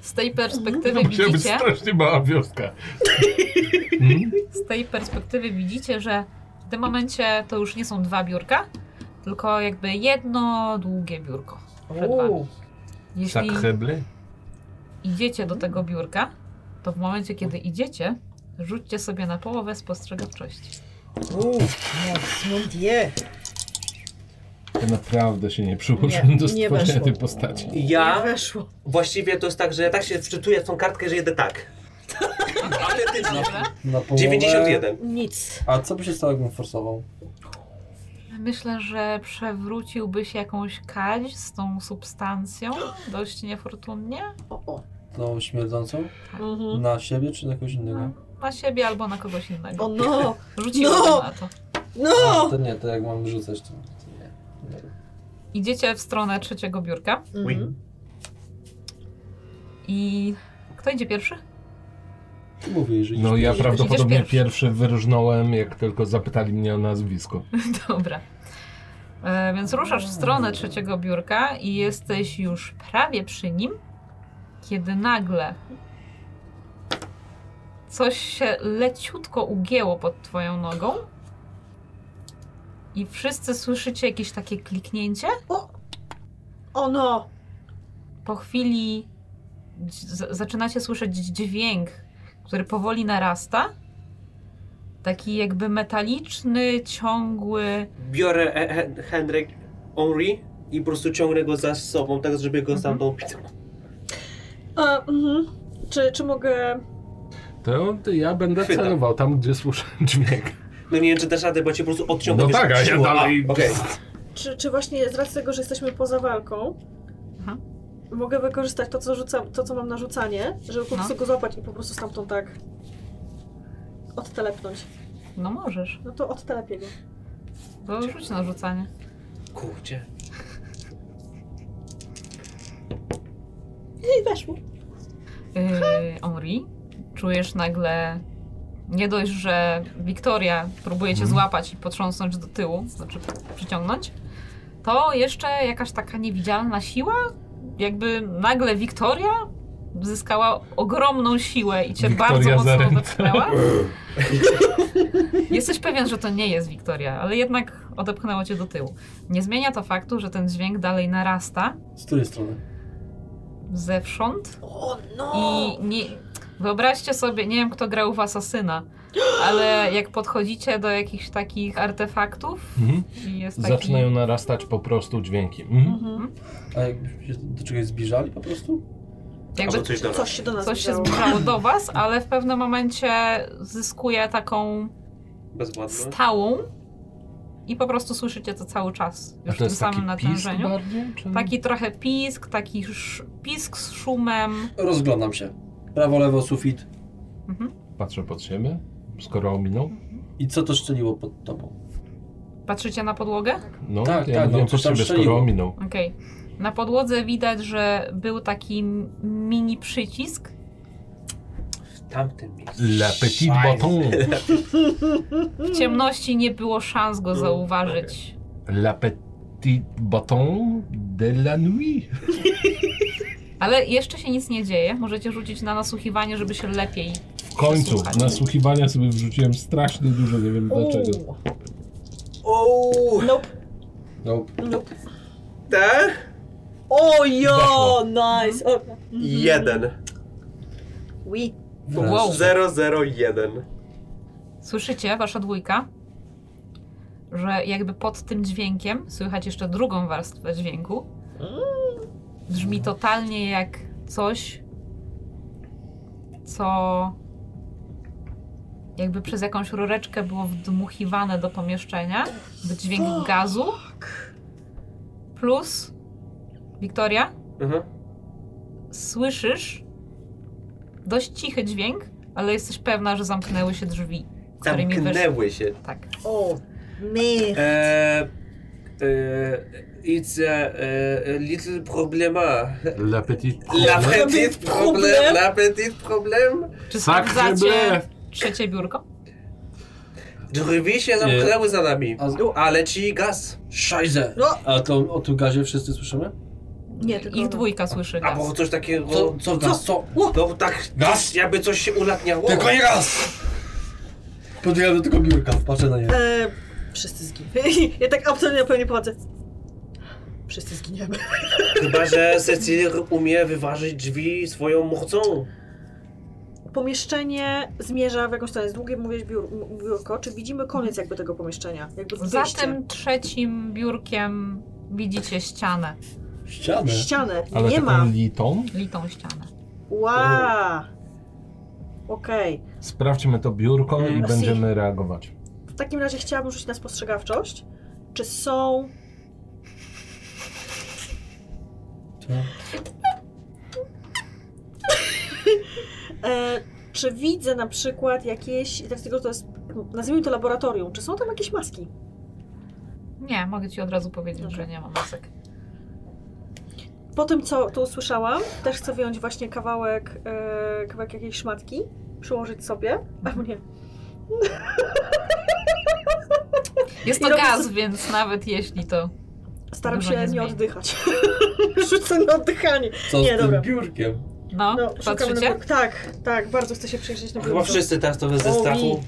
Speaker 1: Z tej perspektywy
Speaker 3: Musiała być
Speaker 1: widzicie,
Speaker 3: strasznie mała wioska. Hmm?
Speaker 1: z tej perspektywy widzicie, że w tym momencie to już nie są dwa biurka, tylko jakby jedno długie biurko. przed wami. Jeśli
Speaker 4: Tak.
Speaker 3: Sakreble?
Speaker 1: idziecie do tego biurka, to w momencie, kiedy idziecie, rzućcie sobie na połowę spostrzegawczości.
Speaker 5: Uuu, no wie.
Speaker 3: Ja naprawdę się nie przyłożyłem
Speaker 5: Nie,
Speaker 3: do
Speaker 5: nie
Speaker 3: stworzenia
Speaker 5: weszło.
Speaker 3: tej postaci.
Speaker 5: Ja
Speaker 2: Ja
Speaker 5: weszło.
Speaker 2: właściwie to jest tak, że ja tak się wczytuję w tą kartkę, że jedę tak.
Speaker 4: No.
Speaker 2: Atletycznie.
Speaker 1: Dobra?
Speaker 4: Na połowę...
Speaker 2: 91.
Speaker 5: Nic.
Speaker 4: A co by się stało, jakbym forsował?
Speaker 1: Myślę, że przewróciłbyś jakąś kadź z tą substancją dość niefortunnie
Speaker 5: O, o.
Speaker 4: Tą śmierdzącą?
Speaker 1: Hmm?
Speaker 5: Mhm.
Speaker 4: Na siebie czy na kogoś innego?
Speaker 1: na siebie albo na kogoś innego.
Speaker 5: O no!
Speaker 1: Rzuciłbym
Speaker 5: No!
Speaker 1: na to.
Speaker 4: A,
Speaker 5: No!
Speaker 4: to nie, to jak mam rzucać to... to nie.
Speaker 1: Idziecie w stronę trzeciego biurka
Speaker 5: Mhm.
Speaker 1: i kto idzie pierwszy?
Speaker 4: Ty mówię, jeżeli...
Speaker 3: No ja
Speaker 1: Idziesz
Speaker 3: prawdopodobnie
Speaker 1: pierwszy.
Speaker 3: pierwszy wyrżnąłem, jak tylko zapytali mnie o nazwisko.
Speaker 1: Dobra. E, więc ruszasz w stronę trzeciego biurka i jesteś już prawie przy nim, kiedy nagle coś się leciutko ugięło pod twoją nogą i wszyscy słyszycie jakieś takie kliknięcie.
Speaker 5: O no!
Speaker 1: Po chwili dź- z- zaczynacie słyszeć dźwięk, który powoli narasta. Taki jakby metaliczny, ciągły,
Speaker 2: Biorę e Hen- Henryk Henry i po prostu ciągnę go za sobą, tak żeby go
Speaker 1: Mhm.
Speaker 2: stamtąd
Speaker 5: A, mhm. Czy, czy mogę...
Speaker 3: To ja będę
Speaker 2: Chwytam.
Speaker 3: celował tam, gdzie słyszę dźwięk.
Speaker 2: No nie wiem, czy dasz radę, bo cię po prostu odciągnę.
Speaker 3: No
Speaker 2: wiesz,
Speaker 3: tak, a ja
Speaker 2: siłą.
Speaker 3: dalej-
Speaker 2: Okej.
Speaker 5: Czy, czy właśnie z racji tego, że jesteśmy poza walką,
Speaker 1: Mhm.
Speaker 5: mogę wykorzystać to, co rzucam, to, co mam na rzucanie, żeby po
Speaker 1: No.
Speaker 5: prostu go złapać i po prostu stamtąd tak odtelepnąć.
Speaker 1: no możesz.
Speaker 5: No to odtelepię go.
Speaker 1: To rzuć na rzucanie.
Speaker 2: Kurczę.
Speaker 5: I weszło.
Speaker 1: Yy, Henri, czujesz nagle nie dość, że Wiktoria próbuje cię
Speaker 3: Mhm.
Speaker 1: złapać i potrząsnąć do tyłu, znaczy przyciągnąć, to jeszcze jakaś taka niewidzialna siła, jakby nagle Wiktoria zyskała ogromną siłę i cię
Speaker 3: Wiktoria
Speaker 1: bardzo
Speaker 3: za
Speaker 1: mocno
Speaker 3: ręce.
Speaker 1: odepchnęła. Jesteś pewien, że to nie jest Wiktoria, ale jednak odepchnęło cię do tyłu. Nie zmienia to faktu, że ten dźwięk dalej narasta
Speaker 4: Z której strony?
Speaker 1: zewsząd.
Speaker 5: O no!
Speaker 1: I nie, wyobraźcie sobie, nie wiem kto grał w Asasyna, ale jak podchodzicie do jakichś takich artefaktów
Speaker 3: Mhm.
Speaker 1: i jest taki...
Speaker 3: Zaczynają narastać po prostu dźwięki. Mhm.
Speaker 5: Mhm.
Speaker 4: A jakbyśmy się do czegoś zbliżali po prostu?
Speaker 1: Jakby
Speaker 2: Albo coś do
Speaker 5: Coś się do nas
Speaker 1: coś się
Speaker 5: działo.
Speaker 1: zbliżało do was, ale w pewnym momencie zyskuje taką
Speaker 2: Bezładne.
Speaker 1: stałą i po prostu słyszycie to cały czas,
Speaker 3: A
Speaker 1: już w
Speaker 3: to
Speaker 1: tym
Speaker 3: jest taki
Speaker 1: samym
Speaker 3: pisk
Speaker 1: natężeniu.
Speaker 3: bardziej? Czy...
Speaker 1: Taki trochę pisk, taki sz- pisk z szumem.
Speaker 4: Rozglądam się. Prawo, lewo, sufit.
Speaker 1: Mhm.
Speaker 3: Patrzę pod siebie, skoro ominął.
Speaker 4: I co to szczeliło pod tobą?
Speaker 1: Patrzycie na podłogę?
Speaker 3: No,
Speaker 4: Tak,
Speaker 3: ja
Speaker 4: tak,
Speaker 3: mówiłem
Speaker 4: no,
Speaker 3: po
Speaker 4: coś tam
Speaker 3: siebie, skoro
Speaker 4: strzeliło.
Speaker 3: ominął.
Speaker 1: Okej. Na podłodze widać, że był taki m- mini przycisk.
Speaker 2: W tamtym miejscu.
Speaker 3: Le petit bâton.
Speaker 1: W ciemności nie było szans go zauważyć.
Speaker 3: Le petit bâton de la nuit.
Speaker 1: Ale jeszcze się nic nie dzieje. Możecie rzucić na nasłuchiwanie, żeby się lepiej.
Speaker 7: W końcu,
Speaker 1: Słuchaj.
Speaker 7: nasłuchiwania sobie wrzuciłem strasznie dużo, nie wiem dlaczego.
Speaker 1: Uuu.
Speaker 2: Ouu,
Speaker 5: Nope,
Speaker 4: No,
Speaker 5: nope.
Speaker 2: tak?
Speaker 5: O jo,
Speaker 3: Weszło.
Speaker 5: nice. O,
Speaker 2: Jeden.
Speaker 5: oui.
Speaker 1: Wow.
Speaker 2: Zero, zero, jeden.
Speaker 1: Słyszycie, wasza dwójka, że jakby pod tym dźwiękiem słychać jeszcze drugą warstwę dźwięku. Brzmi totalnie jak coś, co jakby przez jakąś rureczkę było wdmuchiwane do pomieszczenia, by dźwięk gazu. Plus, Wiktoria,
Speaker 2: Mhm.
Speaker 1: słyszysz dość cichy dźwięk, ale jesteś pewna, że zamknęły się drzwi. którymi weszłaś.
Speaker 2: Zamknęły się.
Speaker 1: Tak.
Speaker 5: O, my.
Speaker 2: Eee, eee, it's a eee, little problema.
Speaker 3: Le petit
Speaker 2: La
Speaker 3: bâton.
Speaker 2: petit problem,
Speaker 5: problem.
Speaker 2: la petit problem.
Speaker 1: Czy
Speaker 3: Sacre bleu.
Speaker 1: sprawdzacie trzecie biurko?
Speaker 2: Drzwi się zamknęły za nami, ale ci gaz.
Speaker 4: Szajze!
Speaker 5: No.
Speaker 4: A to o tym gazie wszyscy słyszymy?
Speaker 5: Nie, tylko
Speaker 1: Ich dwójka słyszy gaz.
Speaker 2: Albo coś takiego.
Speaker 4: Co, co gaz? Co?
Speaker 2: No tak,
Speaker 4: Gaz?
Speaker 2: jakby coś się ulatniało.
Speaker 4: Tylko nie gaz! Podbiegam do tego biurka, patrzę na nie.
Speaker 5: E, wszyscy zginiemy. Ja tak absolutnie na pełni pochodzę. Wszyscy zginiemy.
Speaker 2: Chyba, że Cecil umie wyważyć drzwi swoją mocą.
Speaker 5: Pomieszczenie zmierza w jakąś stronę. Jest długie, mówisz, biur, m- biurko. Czy widzimy koniec jakby tego pomieszczenia? Jakby
Speaker 1: Za
Speaker 5: wyjście.
Speaker 1: tym trzecim biurkiem widzicie ścianę,
Speaker 4: Ścianę.
Speaker 5: Ścianę.
Speaker 3: Ale
Speaker 5: nie
Speaker 3: taką
Speaker 5: ma.
Speaker 3: litą.
Speaker 1: litą ścianę.
Speaker 5: Ła. Okej.
Speaker 3: Sprawdźmy to biurko i
Speaker 2: Mm.
Speaker 3: będziemy reagować.
Speaker 5: W takim razie chciałabym rzucić na spostrzegawczość. Czy są... E, czy widzę na przykład jakieś... Tak z tego to jest... Nazwijmy to laboratorium. Czy są tam jakieś maski?
Speaker 1: Nie, mogę ci od razu powiedzieć,
Speaker 5: Dobra.
Speaker 1: że nie ma masek.
Speaker 5: Po tym, co tu usłyszałam, też chcę wyjąć właśnie kawałek, e, kawałek jakiejś szmatki, przyłożyć sobie. Albo nie.
Speaker 1: Jest
Speaker 5: I
Speaker 1: to
Speaker 5: robię
Speaker 1: gaz,
Speaker 5: sobie-
Speaker 1: więc nawet jeśli to...
Speaker 5: Staram
Speaker 1: Dużo
Speaker 5: się
Speaker 1: nie
Speaker 5: nie,
Speaker 1: zmieni.
Speaker 5: oddychać. Rzucę na oddychanie.
Speaker 4: Co
Speaker 5: Nie,
Speaker 4: z tym
Speaker 5: dobra.
Speaker 4: biurkiem?
Speaker 1: No,
Speaker 5: No, szukamy
Speaker 1: patrzycie?
Speaker 5: na... Tak, tak, bardzo chcę się przejrzeć na
Speaker 2: Chyba
Speaker 5: biurko.
Speaker 2: wszyscy teraz to
Speaker 5: O,
Speaker 2: ze strachu.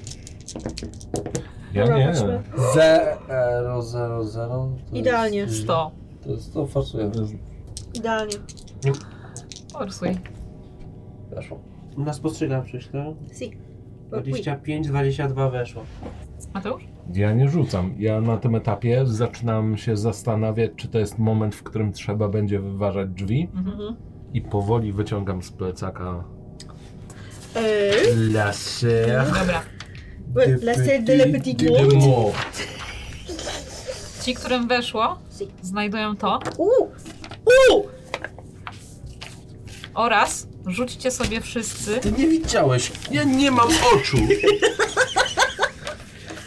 Speaker 3: Ja
Speaker 5: Dobra,
Speaker 3: nie.
Speaker 5: chodźmy.
Speaker 4: Zero, zero, zero. to
Speaker 5: Idealnie.
Speaker 4: jest-
Speaker 1: 100.
Speaker 4: To jest, to farsuję.
Speaker 5: Idealnie.
Speaker 1: Forsuj.
Speaker 4: Weszło.
Speaker 2: Na spostrzegawczość,
Speaker 4: No,
Speaker 2: tak?
Speaker 5: Si.
Speaker 2: 25, 22 weszło.
Speaker 1: Mateusz?
Speaker 3: Ja nie rzucam. Ja na tym etapie zaczynam się zastanawiać, czy to jest moment, w którym trzeba będzie wyważać drzwi
Speaker 5: Mhm.
Speaker 3: i powoli wyciągam z plecaka
Speaker 5: Eee,
Speaker 3: laser
Speaker 1: Dobra.
Speaker 5: la scène de la petite monde.
Speaker 3: mot.
Speaker 1: Ci, którym weszło,
Speaker 5: Si.
Speaker 1: znajdują to
Speaker 5: Uuu!
Speaker 1: oraz rzućcie sobie wszyscy
Speaker 4: Ty nie widziałeś.
Speaker 3: Ja nie mam oczu.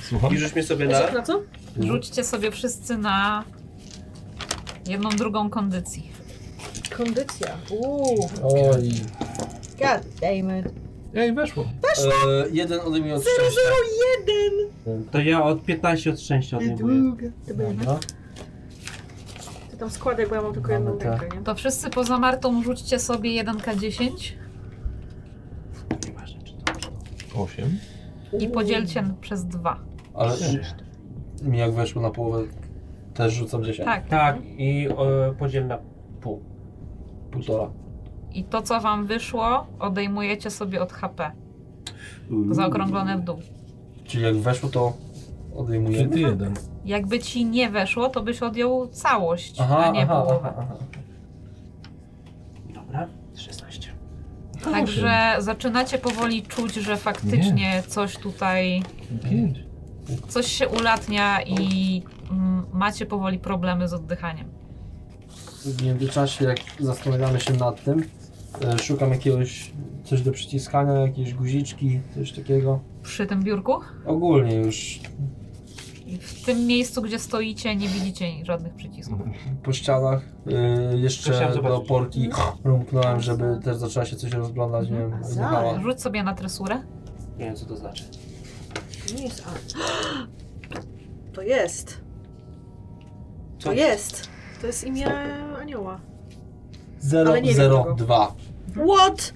Speaker 3: Słucham?
Speaker 2: I żeśmy sobie na...
Speaker 5: Wiesz na co?
Speaker 4: Mhm.
Speaker 1: Rzućcie sobie wszyscy na jedną drugą kondycji.
Speaker 5: Kondycja. Uuu.
Speaker 4: Oj.
Speaker 5: God damn it.
Speaker 3: Ej, weszło.
Speaker 4: E, jeden tak. ode mnie od szczęścia.
Speaker 5: Jeden!
Speaker 2: To ja od 15 od 6
Speaker 4: Mm.
Speaker 2: odejmuję.
Speaker 5: To był jeden. Ty tam składaj, bo ja mam tylko jedną
Speaker 4: Mamy tak.
Speaker 5: rękę, nie?
Speaker 1: To wszyscy poza Martą rzućcie sobie 1K10
Speaker 2: Nieważne, czy to czy to.
Speaker 3: Osiem.
Speaker 1: i podzielcie przez dwa.
Speaker 4: Ale mi jak weszło na połowę, też rzucam 10.
Speaker 1: Tak.
Speaker 2: Tak, i e, podziel na pół.
Speaker 4: Półtora.
Speaker 1: I to, co wam wyszło, odejmujecie sobie od HP. Zaokrąglone w dół.
Speaker 4: Czyli jak weszło, to odejmuję.
Speaker 3: Kiedy jeden?
Speaker 1: Jakby ci nie weszło, to byś odjął całość, a nie połowę.
Speaker 4: aha.
Speaker 2: Dobra, 16.
Speaker 1: Także zaczynacie powoli czuć, że faktycznie coś tutaj,
Speaker 3: Pięć.
Speaker 1: coś się ulatnia i mm, macie powoli problemy z oddychaniem.
Speaker 4: W międzyczasie, jak zastanawiamy się nad tym, e, szukam jakiegoś coś do przyciskania, jakieś guziczki, coś takiego.
Speaker 1: Przy tym biurku?
Speaker 4: Ogólnie już.
Speaker 1: w tym miejscu, gdzie stoicie, nie widzicie żadnych przycisków.
Speaker 4: po ścianach. y,
Speaker 2: Chciałem
Speaker 4: jeszcze do
Speaker 2: zobaczyć.
Speaker 4: porki rumknąłem, żeby też zaczęła się coś rozglądać, nie wiem,
Speaker 5: Mhm. Za.
Speaker 4: zjadała.
Speaker 1: Rzuć sobie na tresurę.
Speaker 2: Nie wiem, co to znaczy.
Speaker 5: To nie jest A. To jest.
Speaker 2: Co?
Speaker 5: To jest. To jest imię anioła. Ale nie wiem tego.
Speaker 4: 002.
Speaker 5: Mhm. What?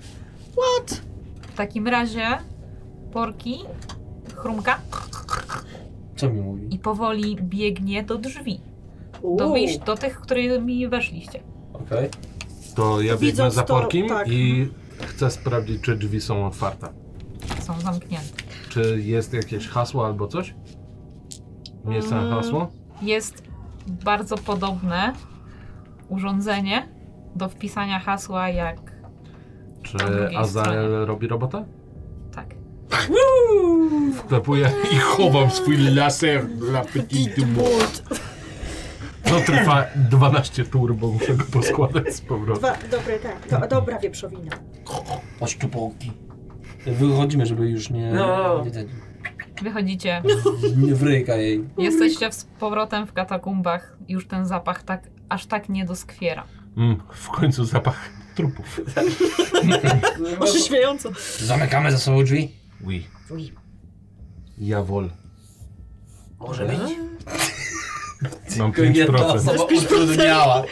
Speaker 5: What?
Speaker 1: W takim razie porki chrumka
Speaker 4: Co mi mówi?
Speaker 1: i powoli biegnie do drzwi. Do
Speaker 5: Uuu.
Speaker 1: wyjść, do tych, którymi weszliście.
Speaker 4: Okej.
Speaker 3: To ja biegnę
Speaker 5: Widząc
Speaker 3: za
Speaker 5: to,
Speaker 3: porkiem
Speaker 5: tak.
Speaker 3: i chcę sprawdzić, czy drzwi są otwarte.
Speaker 1: Są zamknięte.
Speaker 3: Czy jest jakieś hasło albo coś? Nie jest tam
Speaker 1: Mm.
Speaker 3: hasło?
Speaker 1: Jest bardzo podobne urządzenie do wpisania hasła jak
Speaker 3: Czy
Speaker 1: Po drugiej
Speaker 3: Azael
Speaker 1: stronie.
Speaker 3: robi robotę?
Speaker 1: tak.
Speaker 7: Wklepuję i chowam swój laser dla Petit Boy.
Speaker 3: No trwa 12 tur, bo muszę go poskładać z powrotem.
Speaker 5: Dwa, dobre, tak. Do, dobra wieprzowina.
Speaker 4: Chodź tu porki. Wychodzimy, żeby już nie...
Speaker 2: No.
Speaker 4: nie ten-
Speaker 1: Wychodzicie,
Speaker 4: Nie wryjka jej.
Speaker 1: jesteście z powrotem w katakumbach. Już ten zapach tak, aż tak nie doskwiera.
Speaker 3: Mm, w końcu zapach trupów.
Speaker 5: Ożyśmiająco.
Speaker 4: Zamykamy za sobą drzwi.
Speaker 3: Oui. Jawol.
Speaker 2: Może być?
Speaker 3: Mam
Speaker 4: Nie ta
Speaker 3: 5%.
Speaker 4: osoba utrudniała.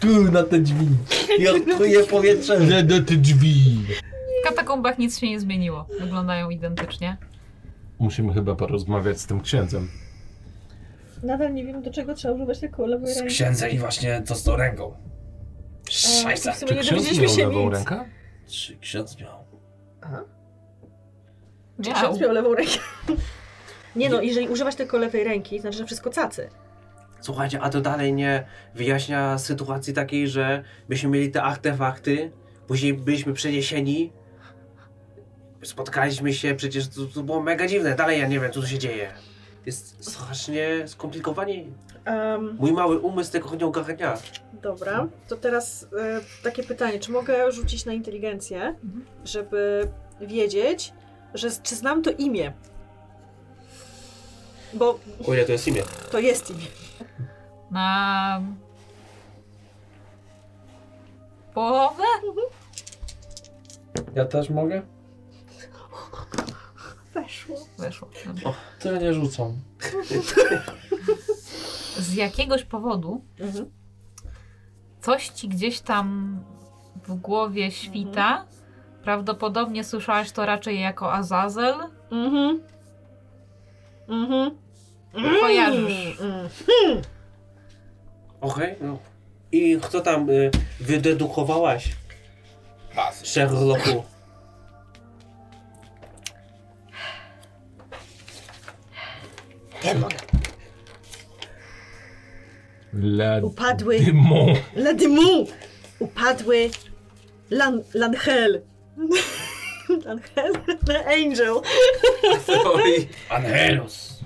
Speaker 4: Tu na te drzwi. Ja czuję powietrze.
Speaker 3: do ty drzwi.
Speaker 1: W katakumbach nic się nie zmieniło. Wyglądają identycznie.
Speaker 3: Musimy chyba porozmawiać z tym księdzem.
Speaker 8: Nadal nie wiem, do czego trzeba używać tylko lewej
Speaker 4: Z
Speaker 8: ręki.
Speaker 4: księdzem i właśnie to z tą ręką. Szajsa.
Speaker 5: W sumie
Speaker 3: Czy
Speaker 5: nie
Speaker 3: ksiądz
Speaker 5: dowiedzieliśmy
Speaker 3: miał
Speaker 5: się
Speaker 3: lewą
Speaker 5: nic.
Speaker 3: rękę?
Speaker 4: Czy ksiądz miał?
Speaker 5: Czy
Speaker 1: Miał.
Speaker 5: ksiądz miał lewą rękę? Nie no, jeżeli używasz tylko lewej ręki, to znaczy, że wszystko cacy.
Speaker 2: Słuchajcie, a to dalej nie wyjaśnia sytuacji takiej, że byśmy mieli te artefakty, później byliśmy przeniesieni, spotkaliśmy się, przecież to, to było mega dziwne. Dalej ja nie wiem, co tu się dzieje. Jest strasznie skomplikowanie.
Speaker 5: Um,
Speaker 2: Mój mały umysł tego nie ogarnia.
Speaker 5: dobra, to teraz e, takie pytanie. Czy mogę rzucić na inteligencję, żeby wiedzieć, że, czy znam to imię? Bo
Speaker 2: O ile to jest imię?
Speaker 5: to jest imię.
Speaker 1: Na połowę?
Speaker 4: Ja też mogę?
Speaker 8: Weszło.
Speaker 1: Weszło.
Speaker 4: Tyle nie rzucą.
Speaker 1: Z jakiegoś powodu
Speaker 5: Mhm.
Speaker 1: coś ci gdzieś tam w głowie świta. Prawdopodobnie słyszałaś to raczej jako Azazel.
Speaker 5: Mhm. Mhm.
Speaker 1: Kojarzysz.
Speaker 5: Mm.
Speaker 2: Okej, no. I kto tam y, wydedukowałaś, Sherlocku?
Speaker 3: La
Speaker 5: Upadły.
Speaker 3: Demon.
Speaker 5: La dymu! Upadły Lan, Lanhel. Lanhel? Angel.
Speaker 2: Oj,
Speaker 4: Angelus.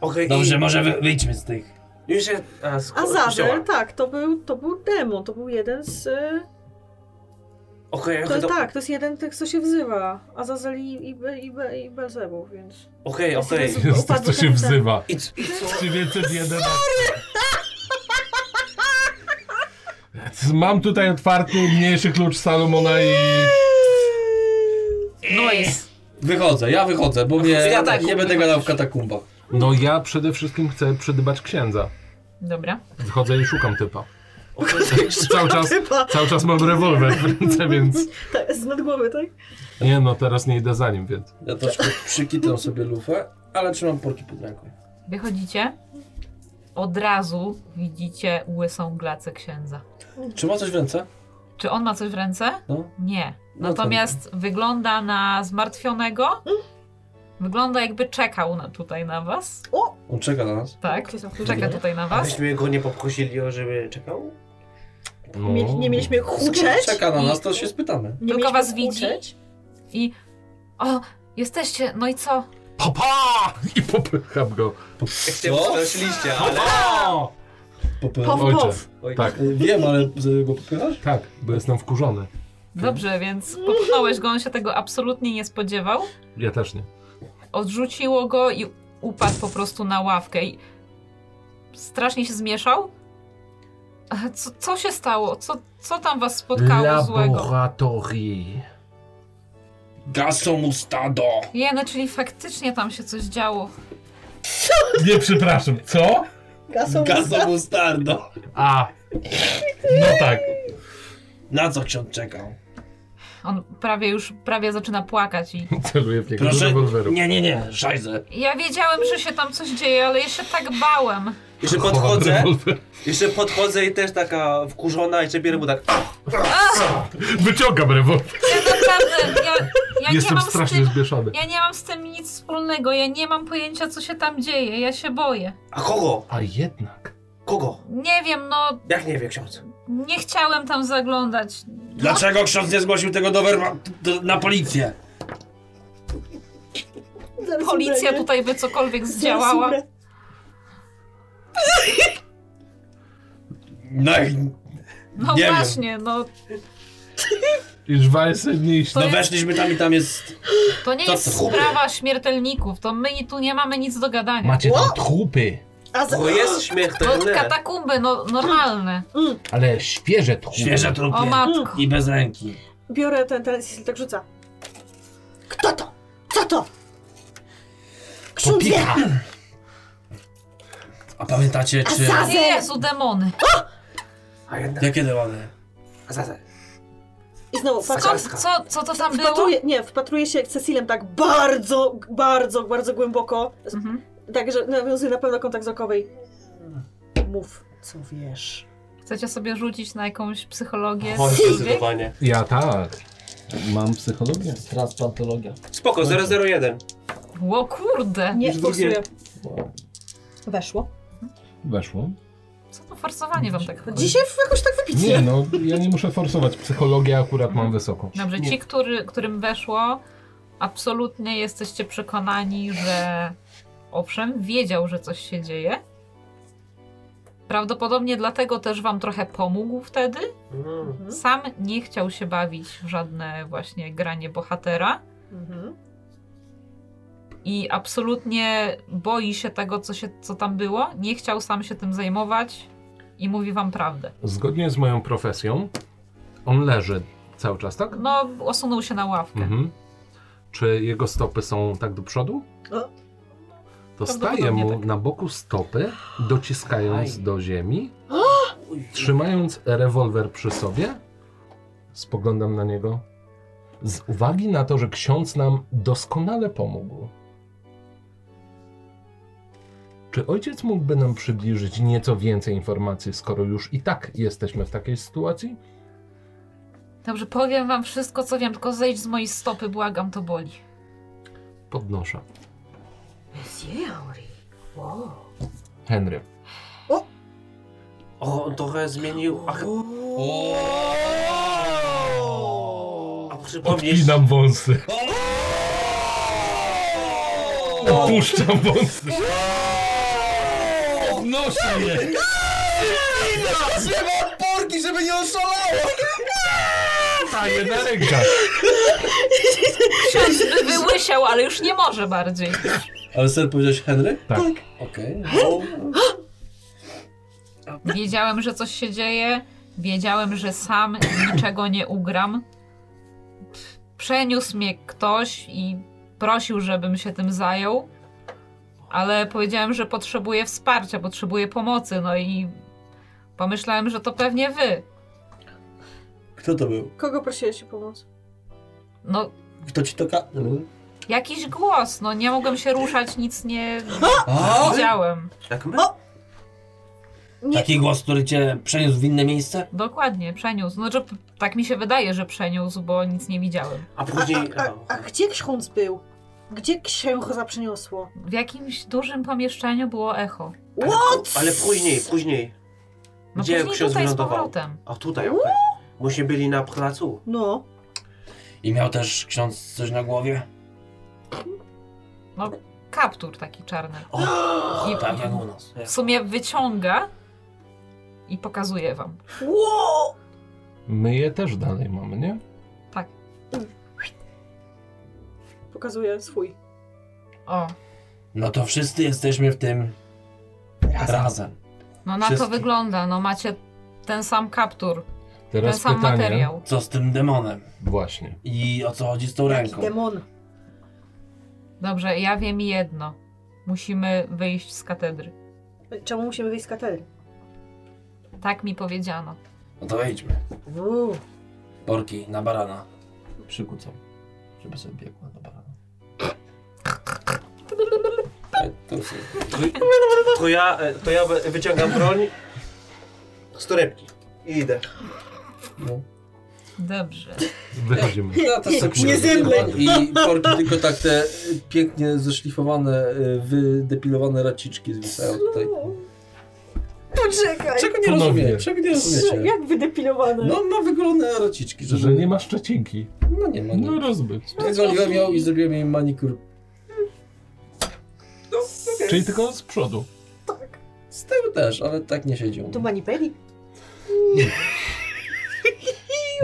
Speaker 2: Okej,
Speaker 4: Dobrze,
Speaker 2: i-
Speaker 4: może wy, wyjdźmy z tych.
Speaker 2: Już się... A, sko-
Speaker 5: Azazel,
Speaker 2: wzięła.
Speaker 5: tak, to był, to był demon, to był jeden z... y,
Speaker 2: Okej,
Speaker 5: To,
Speaker 2: okej, do-
Speaker 5: tak, to jest jeden tych, co się wzywa. Azazel i, i, Be- i, Be- i Belzebub, więc...
Speaker 2: okej,
Speaker 5: Znaczy, Jest
Speaker 2: okej.
Speaker 5: rozum-
Speaker 3: Jest to, co się wzywa.
Speaker 2: I c- i co?
Speaker 3: 911. Mam tutaj otwarty mniejszy klucz Salomona i...
Speaker 1: Noise.
Speaker 4: Wychodzę, ja wychodzę, bo mnie,
Speaker 2: Ja tak,
Speaker 4: nie będę gadał w katakumbach.
Speaker 3: No ja przede wszystkim chcę przydybać księdza.
Speaker 1: Dobra.
Speaker 3: Wchodzę i szukam typa.
Speaker 5: Szukam
Speaker 3: Cały czas,
Speaker 5: Typa.
Speaker 3: cały czas mam rewolwer w ręce, więc...
Speaker 5: Tak, z nadgłowy, tak?
Speaker 3: Nie no, teraz nie idę za nim, więc...
Speaker 4: Ja troszkę przykitam sobie lufę, ale trzymam porki pod ręką.
Speaker 1: Wychodzicie. Od razu widzicie łysą glacę księdza.
Speaker 4: Czy ma coś w ręce?
Speaker 1: Czy on ma coś w ręce?
Speaker 4: No.
Speaker 1: Nie.
Speaker 4: No
Speaker 1: Natomiast wygląda na zmartwionego. Wygląda jakby czekał na, tutaj na was.
Speaker 4: On czeka na nas.
Speaker 1: Tak. Czeka tutaj na was.
Speaker 2: Abyśmy go nie poprosili, o żeby czekał?
Speaker 3: No.
Speaker 5: Mieli, nie mieliśmy huczeć.
Speaker 4: Czeka na nas, to się spytamy.
Speaker 5: Nie
Speaker 1: Tylko
Speaker 5: mieliśmy
Speaker 1: was widzi.
Speaker 5: huczeć.
Speaker 1: I. O, jesteście. No i co?
Speaker 3: Papa! I popycham go.
Speaker 4: Co? Tak.
Speaker 2: Przeszliście, ale...
Speaker 3: Papa!
Speaker 4: Popy...
Speaker 5: Pow,
Speaker 3: Ojcze.
Speaker 5: pow.
Speaker 2: Oj,
Speaker 3: Tak,
Speaker 4: E, Wiem, ale z- go popychasz?
Speaker 3: tak, bo jestem wkurzony.
Speaker 1: Dobrze, więc popchnąłeś go, on się tego absolutnie nie spodziewał.
Speaker 3: Ja też nie.
Speaker 1: Odrzuciło go i upadł po prostu na ławkę i strasznie się zmieszał. A Co, co się stało? Co, co tam was spotkało złego?
Speaker 3: Laboratorii.
Speaker 4: Gasomustado!
Speaker 1: Je, no czyli faktycznie tam się coś działo.
Speaker 7: Nie, przepraszam, co?
Speaker 8: Gasą
Speaker 4: Gasomustado!
Speaker 3: A,
Speaker 7: No tak.
Speaker 4: Na co ksiądz czekał?
Speaker 1: On prawie już, prawie zaczyna płakać i...
Speaker 3: celuję w niego z
Speaker 4: Proszę,
Speaker 3: rewolweru.
Speaker 4: nie, nie, nie, szajzę.
Speaker 1: Ja wiedziałem, że się tam coś dzieje, ale ja się tak bałem.
Speaker 2: Jeszcze
Speaker 3: Chowam
Speaker 2: podchodzę,
Speaker 3: rewolwer.
Speaker 2: jeszcze podchodzę i też taka wkurzona, jeszcze bierę mu tak.
Speaker 3: Wyciągam rewolwer.
Speaker 1: Ja naprawdę, ja, ja nie
Speaker 3: Jestem
Speaker 1: mam z
Speaker 3: strasznie
Speaker 1: tym...
Speaker 3: zbieszany.
Speaker 1: Ja nie mam z tym nic wspólnego, ja nie mam pojęcia, co się tam dzieje, ja się boję.
Speaker 2: A kogo?
Speaker 3: A jednak.
Speaker 2: Kogo?
Speaker 1: Nie wiem, no,
Speaker 2: Jak nie wie ksiądz?
Speaker 1: nie chciałem tam zaglądać.
Speaker 4: Dlaczego ksiądz nie zgłosił tego do werma, do, na policję?
Speaker 8: Zaraz
Speaker 1: Policja
Speaker 8: umrę, nie?
Speaker 1: tutaj by cokolwiek
Speaker 8: Zaraz
Speaker 1: zdziałała.
Speaker 8: umrę.
Speaker 4: No, i-
Speaker 1: No
Speaker 4: Nie wiem.
Speaker 1: właśnie, no,
Speaker 7: Już wajsy niść.
Speaker 1: To
Speaker 4: no
Speaker 1: jest-
Speaker 4: weszliśmy tam i tam jest...
Speaker 1: to nie
Speaker 4: To
Speaker 1: jest
Speaker 4: co?
Speaker 1: sprawa śmiertelników, to my tu nie mamy nic do gadania.
Speaker 3: Macie tam trupy,
Speaker 8: A za...
Speaker 2: Bo jest
Speaker 1: To
Speaker 2: śmiertelny.
Speaker 1: katakumby, no, normalne.
Speaker 3: ale świeże trupy.
Speaker 4: Świeże
Speaker 1: O
Speaker 4: trupy.
Speaker 1: matko.
Speaker 4: I bez ręki.
Speaker 5: Biorę ten, ten Cecil tak rzuca.
Speaker 8: Kto to? Co to?
Speaker 3: To
Speaker 8: Ksiądz
Speaker 3: pika.
Speaker 4: A pamiętacie, czy...
Speaker 8: Azazel!
Speaker 1: Jezu, demony.
Speaker 2: A jednak.
Speaker 4: Jakie demony?
Speaker 2: A zatem.
Speaker 8: I znowu patrz.
Speaker 1: Skąd, co, co to tam było?
Speaker 5: Wpatruje, nie, wpatruje się Cecilem tak bardzo, bardzo, bardzo głęboko. z-
Speaker 1: Mhm.
Speaker 5: Tak, że nawiązuje na pewno kontakt wzrokowy. Mów, co wiesz.
Speaker 1: Chcecie sobie rzucić na jakąś psychologię?
Speaker 2: Chodź,
Speaker 1: cokolwiek?
Speaker 2: zdecydowanie.
Speaker 3: Ja tak.
Speaker 7: Mam psychologię.
Speaker 4: Transplantologia.
Speaker 2: Spoko, 001.
Speaker 1: Ło kurde,
Speaker 5: Nie,
Speaker 2: Już drugie.
Speaker 5: forsuję.
Speaker 8: Weszło.
Speaker 7: Weszło.
Speaker 1: co to forsowanie wam tak chodzi?
Speaker 5: Dzisiaj jakoś tak wypicie.
Speaker 7: Nie
Speaker 5: Nie.
Speaker 7: no, ja nie muszę forsować. Psychologię akurat
Speaker 1: Mhm.
Speaker 7: mam wysoką.
Speaker 1: Dobrze, ci, który, którym weszło, absolutnie jesteście przekonani, że owszem, wiedział, że coś się dzieje. Prawdopodobnie dlatego też wam trochę pomógł wtedy.
Speaker 2: Mm.
Speaker 1: Sam nie chciał się bawić w żadne właśnie granie bohatera
Speaker 5: Mhm.
Speaker 1: i absolutnie boi się tego, co, się, co tam było. Nie chciał sam się tym zajmować i mówi wam prawdę.
Speaker 3: Zgodnie z moją profesją, on leży cały czas, tak?
Speaker 1: No, osunął się na ławkę.
Speaker 3: Mhm. Czy jego stopy są tak do przodu?
Speaker 5: O.
Speaker 3: To staje mu na boku stopy, dociskając
Speaker 2: Aj.
Speaker 3: do ziemi, trzymając rewolwer przy sobie. Spoglądam na niego. Z uwagi na to, że ksiądz nam doskonale pomógł. Czy ojciec mógłby nam przybliżyć nieco więcej informacji, skoro już i tak jesteśmy w takiej sytuacji?
Speaker 1: Dobrze, powiem wam wszystko, co wiem, tylko zejdź z mojej stopy, błagam, to boli.
Speaker 3: Podnoszę.
Speaker 5: Theory. Wow.
Speaker 3: Henry.
Speaker 2: O, on trochę zmienił. Ach, a przypomnieć.
Speaker 7: Odpinam wąsy. Opuszczam wąsy. Podnoszę je.
Speaker 4: Trzymam porki, żeby nie oszalało!
Speaker 7: Staję na rękach.
Speaker 1: Ksiądz by wyłysiał, ale już nie może bardziej.
Speaker 4: Ale ser powiedziałeś Henry?
Speaker 7: Tak.
Speaker 4: Okej.
Speaker 1: Wiedziałem, że coś się dzieje. Wiedziałem, że sam niczego nie ugram. Przeniósł mnie ktoś i prosił, żebym się tym zajął. Ale powiedziałem, że potrzebuję wsparcia, potrzebuję pomocy. No i pomyślałem, że to pewnie wy.
Speaker 4: Kto to był?
Speaker 5: Kogo prosiłeś o pomoc?
Speaker 1: No,
Speaker 4: Kto ci to ka...
Speaker 1: jakiś głos. No, nie mogłem się ruszać, nic nie
Speaker 4: A?
Speaker 1: widziałem.
Speaker 2: Jak my?
Speaker 4: Taki głos, który cię przeniósł w inne miejsce?
Speaker 1: Dokładnie, przeniósł. Znaczy, p- tak mi się wydaje, że przeniósł, bo nic nie widziałem.
Speaker 2: A
Speaker 5: A,
Speaker 2: później.
Speaker 5: a, a, a gdzie ksiądz był? Gdzie księdza przyniosło?
Speaker 1: W jakimś dużym pomieszczeniu było echo.
Speaker 2: Ale,
Speaker 5: What?
Speaker 2: ale później, później.
Speaker 1: No
Speaker 2: Gdzie
Speaker 1: później
Speaker 2: ksiądz
Speaker 1: tutaj z
Speaker 2: wylądował?
Speaker 1: powrotem.
Speaker 2: A tutaj, okej. Musi byli na placu.
Speaker 5: No.
Speaker 4: I miał też ksiądz coś na głowie?
Speaker 1: No, kaptur taki czarny.
Speaker 2: O,
Speaker 1: I
Speaker 4: Tak, jak u nas.
Speaker 1: w sumie wyciąga i pokazuje wam.
Speaker 5: Wow!
Speaker 3: My je też dalej mamy, nie?
Speaker 5: Pokazuję swój.
Speaker 1: O,
Speaker 4: No to wszyscy jesteśmy w tym razem.
Speaker 1: no na to
Speaker 4: Wszystkie.
Speaker 1: wygląda. No macie ten sam kaptur, ten
Speaker 3: Teraz
Speaker 1: sam
Speaker 3: pytanie.
Speaker 1: materiał.
Speaker 4: Co z tym demonem?
Speaker 3: Właśnie.
Speaker 4: I o co chodzi z tą ręką?
Speaker 5: Demon.
Speaker 1: Dobrze, ja wiem jedno. Musimy wyjść z katedry.
Speaker 5: Czemu musimy wyjść z katedry?
Speaker 1: Tak mi powiedziano.
Speaker 4: No to wejdźmy.
Speaker 5: Uuu.
Speaker 4: Porki na barana. Przykucam, żeby sobie biegła do barana. E, To sobie.
Speaker 2: To ja, e, to ja wy- wyciągam broń z torebki i idę.
Speaker 4: No.
Speaker 1: Dobrze.
Speaker 3: Wychodzimy.
Speaker 4: Ja też sobie
Speaker 5: Nie zemdlej.
Speaker 4: przykucam. I porki tylko tak te pięknie zeszlifowane, e, wydepilowane raciczki zwisają tutaj.
Speaker 5: Poczekaj!
Speaker 4: Czego nie
Speaker 3: Ponownie.
Speaker 4: rozumiem? Czego nie rozumiecie?
Speaker 5: Jak wydepilowane?
Speaker 4: No ma wyglądane raciczki, że,
Speaker 3: Że nie ma szczecinki.
Speaker 4: No nie ma.
Speaker 7: No
Speaker 4: No,
Speaker 7: rozbyt.
Speaker 4: Zgoliłem ją i zrobiłem jej manikur.
Speaker 7: Czyli tylko z przodu.
Speaker 4: Z tyłu też, ale tak nie siedzi.
Speaker 5: Tu manipeli?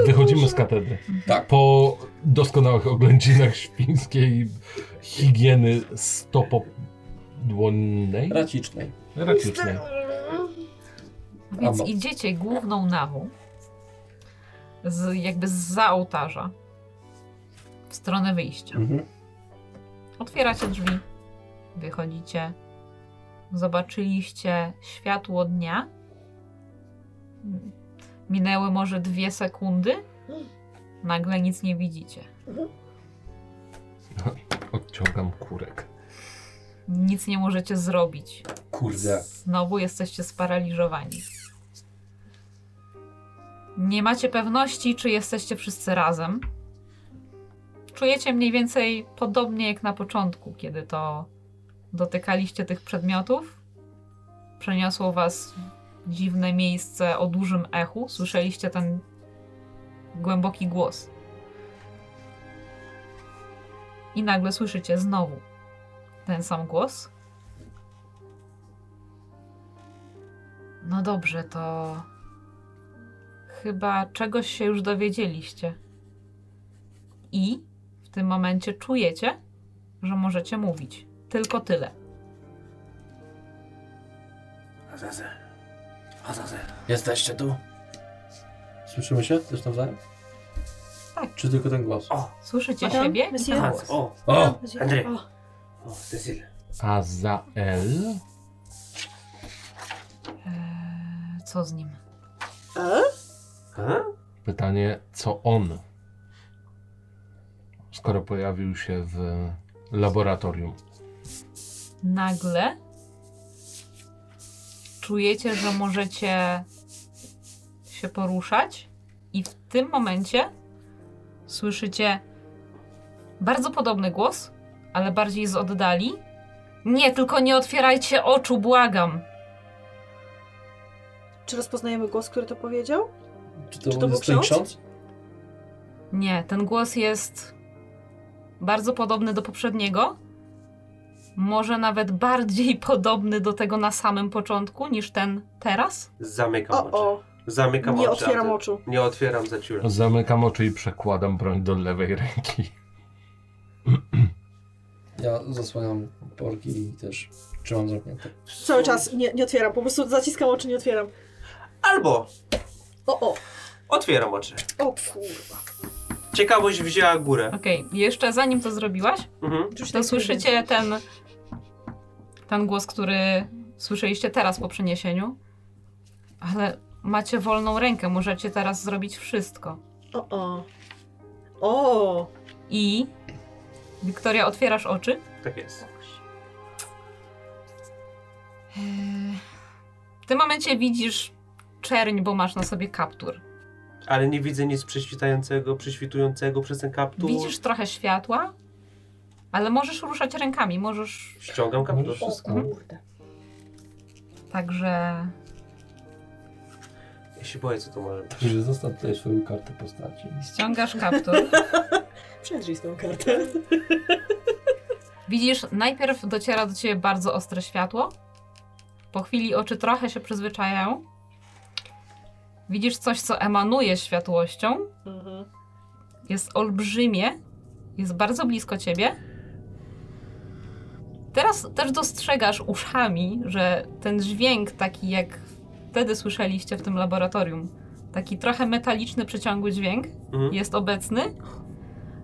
Speaker 3: Wychodzimy z katedry.
Speaker 4: Tak.
Speaker 3: Po doskonałych oględzinach świńskiej higieny stopodłonnej,
Speaker 4: Racicznej.
Speaker 3: rakicznej.
Speaker 1: Więc
Speaker 4: Albo-
Speaker 1: idziecie główną nawą, z, jakby zza ołtarza, w stronę wyjścia.
Speaker 4: Mhm.
Speaker 1: Otwieracie drzwi, wychodzicie. Zobaczyliście światło dnia. Minęły może dwie sekundy. Nagle nic nie widzicie.
Speaker 5: Mhm.
Speaker 3: Odciągam kurek.
Speaker 1: Nic nie możecie zrobić.
Speaker 4: Kurde.
Speaker 1: Znowu jesteście sparaliżowani. Nie macie pewności, czy jesteście wszyscy razem. Czujecie mniej więcej podobnie jak na początku, kiedy to dotykaliście tych przedmiotów. Przeniosło was w dziwne miejsce o dużym echu. Słyszeliście ten głęboki głos. I nagle słyszycie znowu ten sam głos. No dobrze, to. Chyba czegoś się już dowiedzieliście. I w tym momencie czujecie, że możecie mówić. Tylko tyle.
Speaker 4: Azazel. Azazel. Jesteście tu? Słyszymy się też nawzajem?
Speaker 1: Tak.
Speaker 4: Czy tylko ten głos?
Speaker 2: O,
Speaker 1: Słyszycie
Speaker 8: Madame,
Speaker 1: siebie?
Speaker 8: monsieur?
Speaker 1: Tak.
Speaker 2: Hans, o,
Speaker 4: O!
Speaker 2: Andrzej.
Speaker 8: O,
Speaker 2: o, Cecil.
Speaker 3: Azael?
Speaker 1: Eee, co z nim?
Speaker 5: E?
Speaker 2: A?
Speaker 3: Pytanie, co on? Skoro pojawił się w laboratorium.
Speaker 1: Nagle czujecie, że możecie się poruszać, i w tym momencie słyszycie bardzo podobny głos, ale bardziej z oddali. Nie, tylko nie otwierajcie oczu, błagam.
Speaker 5: Czy rozpoznajemy głos, który to powiedział?
Speaker 4: Czy to,
Speaker 5: Czy to był
Speaker 4: jest ten
Speaker 5: ksiądz?
Speaker 4: ksiądz?
Speaker 1: Nie, ten głos jest bardzo podobny do poprzedniego. Może nawet bardziej podobny do tego na samym początku niż ten teraz.
Speaker 2: Zamykam
Speaker 5: O,
Speaker 2: oczy.
Speaker 5: o.
Speaker 2: Zamykam oczy.
Speaker 5: Nie otwieram
Speaker 2: Andrzej.
Speaker 5: oczu.
Speaker 2: Nie otwieram za ciura.
Speaker 3: Zamykam oczy i przekładam broń do lewej ręki.
Speaker 4: Ja zasłaniam porki i też trzymam zamknięte.
Speaker 5: Cały czas nie, nie otwieram, po prostu zaciskam oczy, nie otwieram.
Speaker 2: Albo
Speaker 5: O, o,
Speaker 2: otwieram oczy.
Speaker 5: o kurwa.
Speaker 2: Ciekawość wzięła górę.
Speaker 1: Okej, jeszcze zanim to zrobiłaś,
Speaker 2: Mhm.
Speaker 5: Już
Speaker 1: to
Speaker 5: tak
Speaker 1: słyszycie ten, ten głos, który słyszeliście teraz po przeniesieniu. Ale macie wolną rękę, możecie teraz zrobić wszystko.
Speaker 5: O, o. O,
Speaker 1: I. Wiktoria, otwierasz oczy?
Speaker 2: Tak jest.
Speaker 5: Eee.
Speaker 1: W tym momencie widzisz czerń, bo masz na sobie kaptur.
Speaker 2: Ale nie widzę nic prześwitającego, prześwitującego przez ten kaptur.
Speaker 1: Widzisz trochę światła, ale możesz ruszać rękami, możesz.
Speaker 2: Ściągam kaptur.
Speaker 4: Możesz-
Speaker 8: o kurde.
Speaker 5: mhm.
Speaker 1: Także.
Speaker 2: Ja się boję, co to może być.
Speaker 4: Że zostaw tutaj swoją kartę postaci.
Speaker 1: ściągasz kaptur.
Speaker 5: przedrzyj tą kartę.
Speaker 1: Widzisz, najpierw dociera do ciebie bardzo ostre światło. Po chwili oczy trochę się przyzwyczajają. Widzisz coś, co emanuje światłością.
Speaker 5: Mhm.
Speaker 1: Jest olbrzymie, jest bardzo blisko ciebie. Teraz też dostrzegasz uszami, że ten dźwięk taki jak wtedy słyszeliście w tym laboratorium, taki trochę metaliczny, przeciągły dźwięk,
Speaker 2: Mhm.
Speaker 1: jest obecny,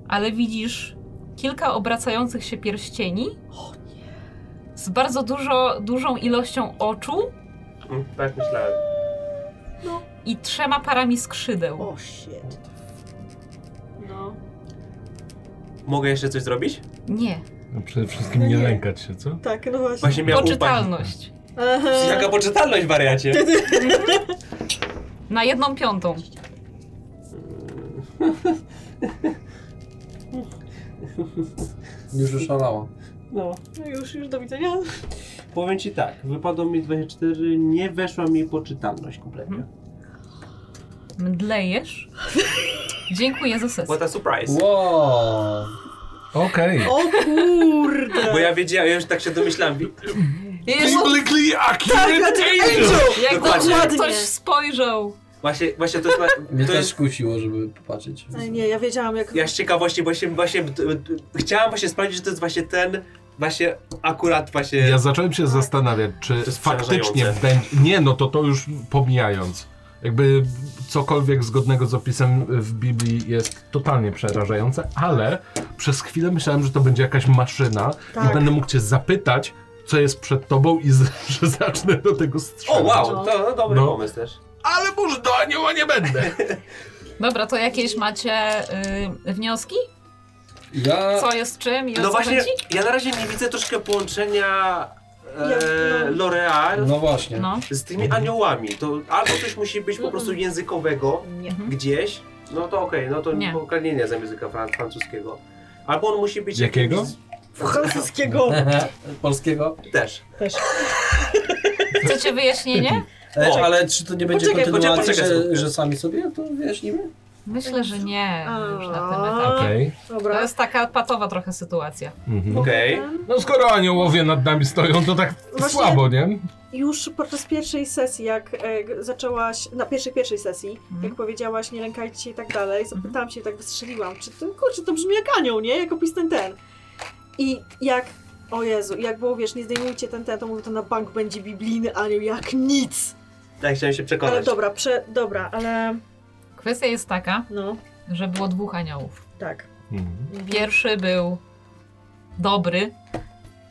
Speaker 1: ale widzisz kilka obracających się pierścieni z bardzo dużo, dużą ilością oczu
Speaker 2: Mm, Tak myślałem.
Speaker 1: i trzema parami skrzydeł.
Speaker 8: O shit.
Speaker 5: No.
Speaker 2: Mogę jeszcze coś zrobić?
Speaker 1: Nie,
Speaker 3: No przede wszystkim
Speaker 8: No
Speaker 3: nie
Speaker 8: nie.
Speaker 3: lękać się, co?
Speaker 5: Tak, no właśnie.
Speaker 2: Właśnie miał upaść.
Speaker 1: poczytalność.
Speaker 5: Aha.
Speaker 2: Jaka poczytalność, wariacie?
Speaker 1: Na jedną piątą.
Speaker 4: Już wyszalała.
Speaker 2: No,
Speaker 5: No już, już do widzenia.
Speaker 2: powiem ci tak, wypadło mi 24, nie weszła mi poczytalność kompletnie.
Speaker 1: Mdlejesz. Dziękuję za sesję.
Speaker 2: What a surprise.
Speaker 4: Wow.
Speaker 3: Okej.
Speaker 5: O kurde!
Speaker 2: Bo ja wiedziałem, ja już tak się domyślałem.
Speaker 1: Jezu,
Speaker 3: accurate
Speaker 1: Jak
Speaker 2: Dokładnie.
Speaker 1: dobrze
Speaker 5: Dokładnie.
Speaker 1: ktoś spojrzał.
Speaker 2: Właśnie, właśnie to jest...
Speaker 4: Mnie
Speaker 2: To
Speaker 4: też
Speaker 2: jest
Speaker 4: kusiło, żeby popatrzeć.
Speaker 5: Ej, Nie, ja wiedziałam jak...
Speaker 2: ja z ciekawości właśnie, właśnie d- d- chciałem właśnie sprawdzić, że to jest właśnie ten, właśnie akurat właśnie...
Speaker 3: Ja zacząłem się zastanawiać, czy
Speaker 2: jest
Speaker 3: faktycznie
Speaker 2: przerażające.
Speaker 3: będzie. Nie, no to to już pomijając. Jakby cokolwiek zgodnego z opisem w Biblii jest totalnie przerażające, ale przez chwilę myślałem, że to będzie jakaś maszyna i
Speaker 5: Tak.
Speaker 3: będę mógł cię zapytać, co jest przed tobą i z, że zacznę do tego
Speaker 2: O,
Speaker 3: strzelać.
Speaker 2: wow, to no, dobry
Speaker 3: No.
Speaker 2: pomysł też.
Speaker 3: Ale może do anioła nie będę!
Speaker 1: Dobra, to jakieś macie y, wnioski?
Speaker 4: Ja...
Speaker 1: Co jest czym i o
Speaker 2: No
Speaker 1: co
Speaker 2: właśnie,
Speaker 1: chodzi?
Speaker 2: ja na razie nie widzę troszkę połączenia
Speaker 5: Ja-
Speaker 2: e,
Speaker 5: no.
Speaker 2: L'Oreal
Speaker 4: No właśnie.
Speaker 1: No.
Speaker 2: z tymi aniołami. To albo coś musi być po prostu językowego
Speaker 8: Nie.
Speaker 2: gdzieś, no to okej, no to
Speaker 1: Nie.
Speaker 2: nie ukradnienie za języka fran- francuskiego. Albo on musi być
Speaker 3: Jakiego?
Speaker 2: jakimś-
Speaker 5: Francuskiego!
Speaker 4: Polskiego.
Speaker 2: Też.
Speaker 8: Też.
Speaker 1: Chcecie wyjaśnienie?
Speaker 4: E,
Speaker 2: O.
Speaker 4: ale czy to nie będzie
Speaker 2: Poczekaj, poczekaj,
Speaker 4: kontynuacji,
Speaker 2: poczekaj,
Speaker 4: że,
Speaker 2: słuchaj.
Speaker 4: że sami sobie to wyjaśnimy?
Speaker 1: Myślę, że nie. Już na tym etapie.
Speaker 3: Okej.
Speaker 1: To
Speaker 5: Dobra.
Speaker 1: jest taka patowa trochę sytuacja.
Speaker 3: Mhm.
Speaker 2: Okej.
Speaker 3: No skoro aniołowie nad nami stoją, to tak
Speaker 5: Właśnie-
Speaker 3: słabo, nie?
Speaker 5: Już podczas pierwszej sesji, jak e, g- zaczęłaś, na pierwszej pierwszej sesji,
Speaker 1: Mhm.
Speaker 5: jak powiedziałaś nie lękajcie się i tak dalej, zapytałam się i tak wystrzeliłam, czy to, kurczę, to brzmi jak anioł, nie? Jak opis ten ten. I jak, o Jezu, jak było, wiesz, nie zdejmujcie ten ten, to mówię, to na bank będzie biblijny anioł, jak nic!
Speaker 2: Tak, chciałem się
Speaker 5: Ale
Speaker 2: przekonać.
Speaker 5: dobra, prze, dobra, ale
Speaker 1: Kwestia jest taka,
Speaker 5: no,
Speaker 1: że było dwóch aniołów.
Speaker 5: tak.
Speaker 3: Mhm.
Speaker 1: Pierwszy był dobry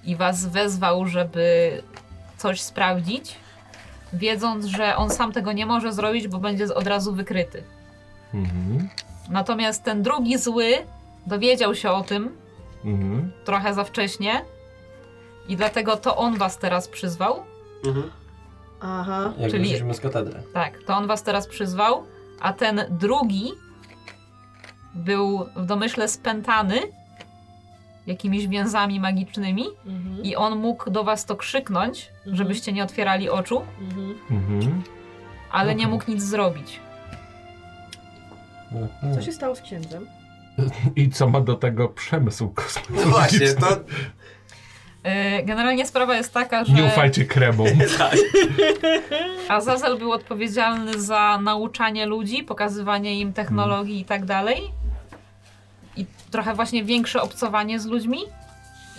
Speaker 1: i was wezwał, żeby coś sprawdzić, wiedząc, że on sam tego nie może zrobić, bo będzie od razu wykryty.
Speaker 3: Mhm.
Speaker 1: Natomiast ten drugi zły dowiedział się o tym
Speaker 3: Mhm.
Speaker 1: trochę za wcześnie i dlatego to on was teraz przyzwał.
Speaker 2: Mhm.
Speaker 5: Aha.
Speaker 4: Jak
Speaker 1: Czyli-
Speaker 4: wyszliśmy z katedry.
Speaker 1: Tak, to on was teraz przyzwał, a ten drugi był w domyśle spętany jakimiś więzami magicznymi
Speaker 5: Mhm.
Speaker 1: i on mógł do was to krzyknąć,
Speaker 5: Mhm.
Speaker 1: żebyście nie otwierali oczu,
Speaker 5: Mhm.
Speaker 3: Mhm.
Speaker 1: ale nie
Speaker 3: Okej.
Speaker 1: mógł nic zrobić.
Speaker 4: Mhm.
Speaker 8: Co się stało z księdzem?
Speaker 3: I co ma do tego przemysł kosmiczny?
Speaker 2: No właśnie, to...
Speaker 1: Yy, Generalnie sprawa jest taka, że
Speaker 3: Nie ufajcie kremom.
Speaker 2: tak.
Speaker 1: Azazel był odpowiedzialny za nauczanie ludzi, pokazywanie im technologii i tak dalej. I trochę właśnie większe obcowanie z ludźmi.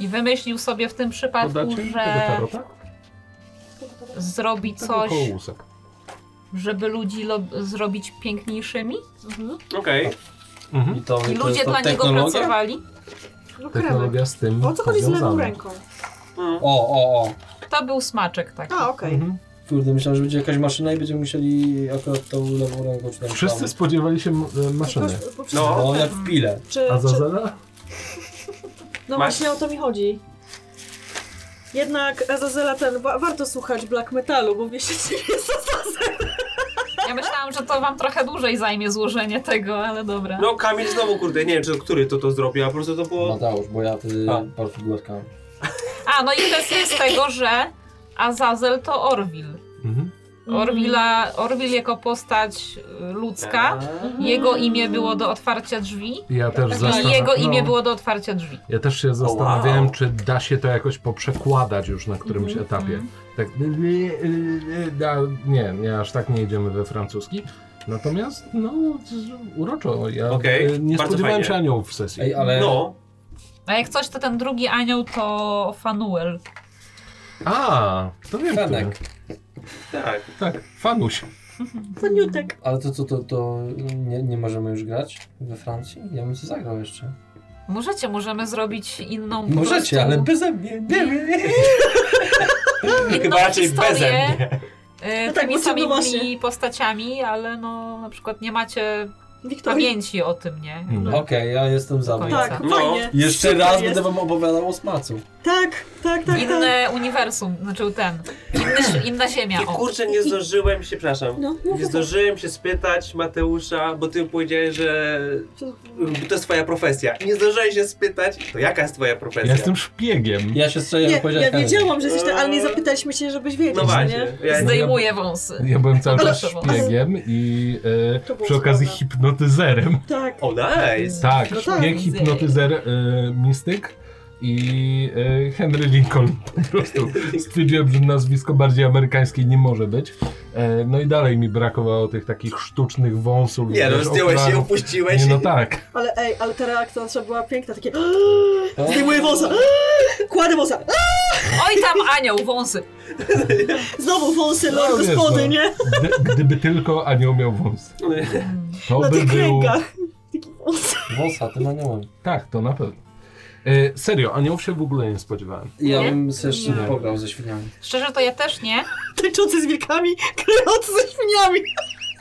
Speaker 1: I wymyślił sobie w tym przypadku,
Speaker 3: Podacie mi znaczy, tego
Speaker 1: że
Speaker 3: tarota?
Speaker 1: zrobi
Speaker 3: Tego
Speaker 1: coś,
Speaker 3: koło łusek.
Speaker 1: żeby ludzi lo- zrobić piękniejszymi.
Speaker 2: Okej.
Speaker 3: Mhm.
Speaker 4: No I to,
Speaker 1: I
Speaker 4: to jest
Speaker 1: ludzie
Speaker 4: to
Speaker 1: dla niego
Speaker 4: technologia?
Speaker 1: pracowali.
Speaker 5: No kremek.
Speaker 3: Technologia z tym
Speaker 5: O co chodzi z lewą
Speaker 3: powiązana.
Speaker 5: ręką?
Speaker 2: Mm.
Speaker 4: O, o, o.
Speaker 1: To był smaczek taki.
Speaker 5: A, okej.
Speaker 3: Mhm.
Speaker 4: Kurde, myślałem, że będzie jakaś maszyna i będziemy musieli akurat tą lewą ręką czy tam
Speaker 3: Wszyscy
Speaker 4: prawą.
Speaker 3: spodziewali się e, maszyny.
Speaker 5: Tylko- bo-
Speaker 2: No.
Speaker 4: No, jak w pile.
Speaker 5: Czy,
Speaker 3: A
Speaker 5: czy,
Speaker 3: Zazela?
Speaker 2: Masz-
Speaker 5: no właśnie o to mi chodzi. Jednak Azazela ten, wa warto słuchać black metalu, bo wiecie, że jest Azazel.
Speaker 1: Ja myślałam, że to wam trochę dłużej zajmie złożenie tego, ale dobra.
Speaker 2: No Kamil znowu, kurde, nie wiem, czy który to to zrobił, a po prostu to było...
Speaker 4: Mateusz, bo ja wtedy
Speaker 2: A.
Speaker 4: bardzo głaskałem.
Speaker 1: A, no i kwestia jest tego, że Azazel to Orwil.
Speaker 3: Mhm.
Speaker 1: Orwilla, Orwil jako postać y, ludzka.
Speaker 2: Tak.
Speaker 5: Mhm.
Speaker 1: Jego imię było do otwarcia drzwi.
Speaker 3: Ja też
Speaker 1: I
Speaker 3: zastanawiam
Speaker 1: tak, jego imię
Speaker 3: no.
Speaker 1: było do otwarcia drzwi.
Speaker 3: Ja też się zastanawiałem,
Speaker 2: wow.
Speaker 3: czy da się to jakoś poprzekładać już na którymś etapie. Tak, y, nie, nie, aż tak nie idziemy we francuski. Natomiast, no, z- uroczo. Ja
Speaker 2: Okej,
Speaker 3: e, nie
Speaker 2: bardzo
Speaker 3: spodziewałem się
Speaker 2: fajnie.
Speaker 3: aniołów w sesji.
Speaker 4: Ej, ale
Speaker 2: No,
Speaker 1: A jak coś, to ten drugi anioł to Fanuel.
Speaker 3: A, to wiem, który.
Speaker 4: Fenek.
Speaker 2: tak.
Speaker 3: Tak, fanuś.
Speaker 5: Faniutek.
Speaker 4: Ale to co, to, to nie, nie możemy już grać we Francji? Ja bym sobie zagrał jeszcze.
Speaker 1: Możecie, możemy zrobić inną po
Speaker 4: Możecie, ale
Speaker 1: prostu-
Speaker 4: beze mnie. Nie, nie, nie.
Speaker 1: inną
Speaker 2: Chyba raczej
Speaker 1: historię,
Speaker 2: beze mnie.
Speaker 1: y,
Speaker 5: No tak,
Speaker 1: tymi
Speaker 5: bo co, no
Speaker 1: samymi
Speaker 5: właśnie.
Speaker 1: postaciami, ale no na przykład nie macie
Speaker 5: Wiktoria.
Speaker 1: pamięci o tym, nie?
Speaker 3: No.
Speaker 4: Okej, ja jestem za.
Speaker 1: Spokojnie.
Speaker 5: Tak,
Speaker 2: No.
Speaker 5: fajnie.
Speaker 4: Jeszcze
Speaker 5: Super
Speaker 4: raz
Speaker 5: jest.
Speaker 4: będę wam opowiadał o smacu.
Speaker 5: Tak, tak, tak, tak.
Speaker 1: Inne uniwersum, znaczy ten, inny, ś- inna ziemia.
Speaker 2: I
Speaker 1: O.
Speaker 2: kurczę, nie zdążyłem się, przepraszam.
Speaker 5: No,
Speaker 2: Nie zdążyłem się spytać Mateusza, bo ty powiedziałeś, że
Speaker 5: tak.
Speaker 2: y, to jest twoja profesja. I nie zdążyłem się spytać, to jaka jest twoja profesja?
Speaker 7: Ja jestem szpiegiem.
Speaker 4: Ja się strzelę,
Speaker 3: no,
Speaker 5: Nie,
Speaker 4: powiedziałem
Speaker 5: ja
Speaker 4: Henry.
Speaker 5: wiedziałam, że jesteś tam, ale nie zapytaliśmy się, żebyś wiedział,
Speaker 2: No
Speaker 5: nie?
Speaker 2: właśnie. Ja,
Speaker 1: Zdejmuje wąsy.
Speaker 3: Ja byłem cały czas
Speaker 1: Proszę
Speaker 3: szpiegiem i
Speaker 5: To
Speaker 3: e,
Speaker 5: było
Speaker 3: przy okazji
Speaker 5: słabe.
Speaker 3: hipnotyzerem.
Speaker 5: Tak.
Speaker 2: o, nice.
Speaker 3: Tak,
Speaker 5: No tak.
Speaker 3: szpieg, hipnotyzer, e, mistyk i e, Henry Lincoln po prostu. Stwierdziłem, że nazwisko bardziej amerykańskie nie może być. E, no i dalej mi brakowało tych takich sztucznych wąsul.
Speaker 2: Nie no,
Speaker 3: wiesz,
Speaker 2: zdjąłeś się,
Speaker 3: okularów.
Speaker 2: upuściłeś.
Speaker 3: Nie no
Speaker 2: i-
Speaker 3: tak.
Speaker 5: Ale ej, ale ta reakcja nasza była piękna, takie
Speaker 4: O.
Speaker 5: zdejmuję wąsa, kładę wąsa,
Speaker 1: Oj tam anioł, wąsy.
Speaker 5: znowu wąsy, lord
Speaker 3: wiesz,
Speaker 5: gospody,
Speaker 3: no.
Speaker 5: nie?
Speaker 3: Gdy, gdyby tylko anioł miał wąs. To
Speaker 5: Na
Speaker 3: by
Speaker 5: No tych
Speaker 3: był...
Speaker 5: kręgach. Taki wąs.
Speaker 4: Wąsa, tym aniołem.
Speaker 3: Tak, to na pewno. E, serio, aniołów się w ogóle nie spodziewałem.
Speaker 4: Ja
Speaker 1: Nie?
Speaker 4: bym sobie jeszcze
Speaker 1: Nie.
Speaker 4: pograł ze świniami.
Speaker 1: Szczerze to ja też nie,
Speaker 5: Tańczący z wilkami, kryjący ze świniami.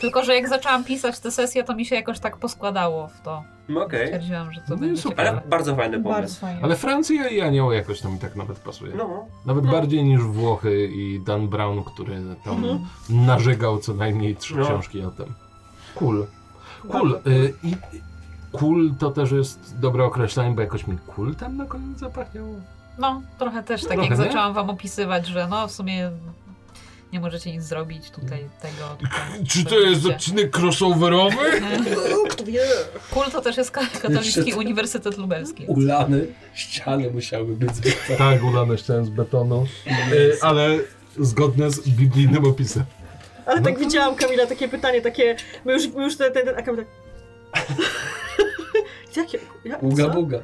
Speaker 1: tylko że jak zaczęłam pisać te sesje, to mi się jakoś tak poskładało w to.
Speaker 2: No, Okej.
Speaker 1: Stwierdziłam, że to
Speaker 3: No i
Speaker 1: będzie
Speaker 3: super.
Speaker 1: ciekawe.
Speaker 2: Ale bardzo fajny
Speaker 8: Bardzo
Speaker 2: pomysł.
Speaker 8: fajnie.
Speaker 3: Ale Francja i anioł jakoś tam mi tak nawet pasuje.
Speaker 2: No,
Speaker 3: Nawet
Speaker 5: No.
Speaker 3: bardziej niż Włochy i Dan Brown, który tam
Speaker 5: Mhm.
Speaker 3: narzekał co najmniej trzy
Speaker 2: No.
Speaker 3: książki o tym. Cool. Cool. Y, I i- cool to też jest dobre określenie, bo jakoś mi cool tam na koniec zapachniało.
Speaker 1: No, trochę też tak,
Speaker 3: Trochę,
Speaker 1: jak
Speaker 3: nie?
Speaker 1: zaczęłam wam opisywać, że no w sumie nie możecie nic zrobić tutaj tego. tutaj zrobicie.
Speaker 3: odcinek crossoverowy?
Speaker 5: Kto wie?
Speaker 1: Kul to też jest ka- katolicki Uniwersytet Lubelski.
Speaker 4: Ulany ściany musiały być zbyt.
Speaker 3: tak, ulane ściany z betonu, y, ale zgodne z biblijnym opisem.
Speaker 5: Ale tak widziałam Kamila, takie pytanie, takie, my już, my już ten, ten, ten, a Kamil tak... Jakie? Ja,
Speaker 4: Uga
Speaker 5: co?
Speaker 4: buga.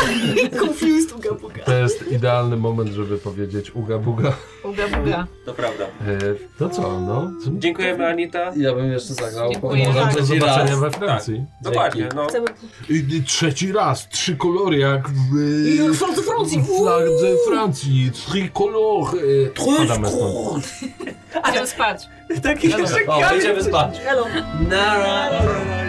Speaker 5: Confused uga buga.
Speaker 3: To jest idealny moment, żeby powiedzieć uga buga.
Speaker 1: Buga, buga.
Speaker 2: to prawda.
Speaker 3: Y, to co, no?
Speaker 2: Dziękujemy Anita.
Speaker 4: Ja bym jeszcze zagrał.
Speaker 1: Dziękuję.
Speaker 4: Może
Speaker 5: Tak.
Speaker 3: Do
Speaker 2: Trzeci
Speaker 3: zobaczenia
Speaker 2: raz.
Speaker 3: we Francji.
Speaker 2: Dokładnie, no.
Speaker 5: Chcemy...
Speaker 3: Tak. I- i Trzeci raz, trzy kolory jak w...
Speaker 5: Jak w Francji, Francji,
Speaker 3: w flagze Francji, trzy kolory. Spadamy stąd.
Speaker 1: Idziemy spać.
Speaker 2: Taki jeszcze
Speaker 4: O, idziemy
Speaker 2: kamień.
Speaker 4: spać.
Speaker 5: Elo.
Speaker 2: Nara.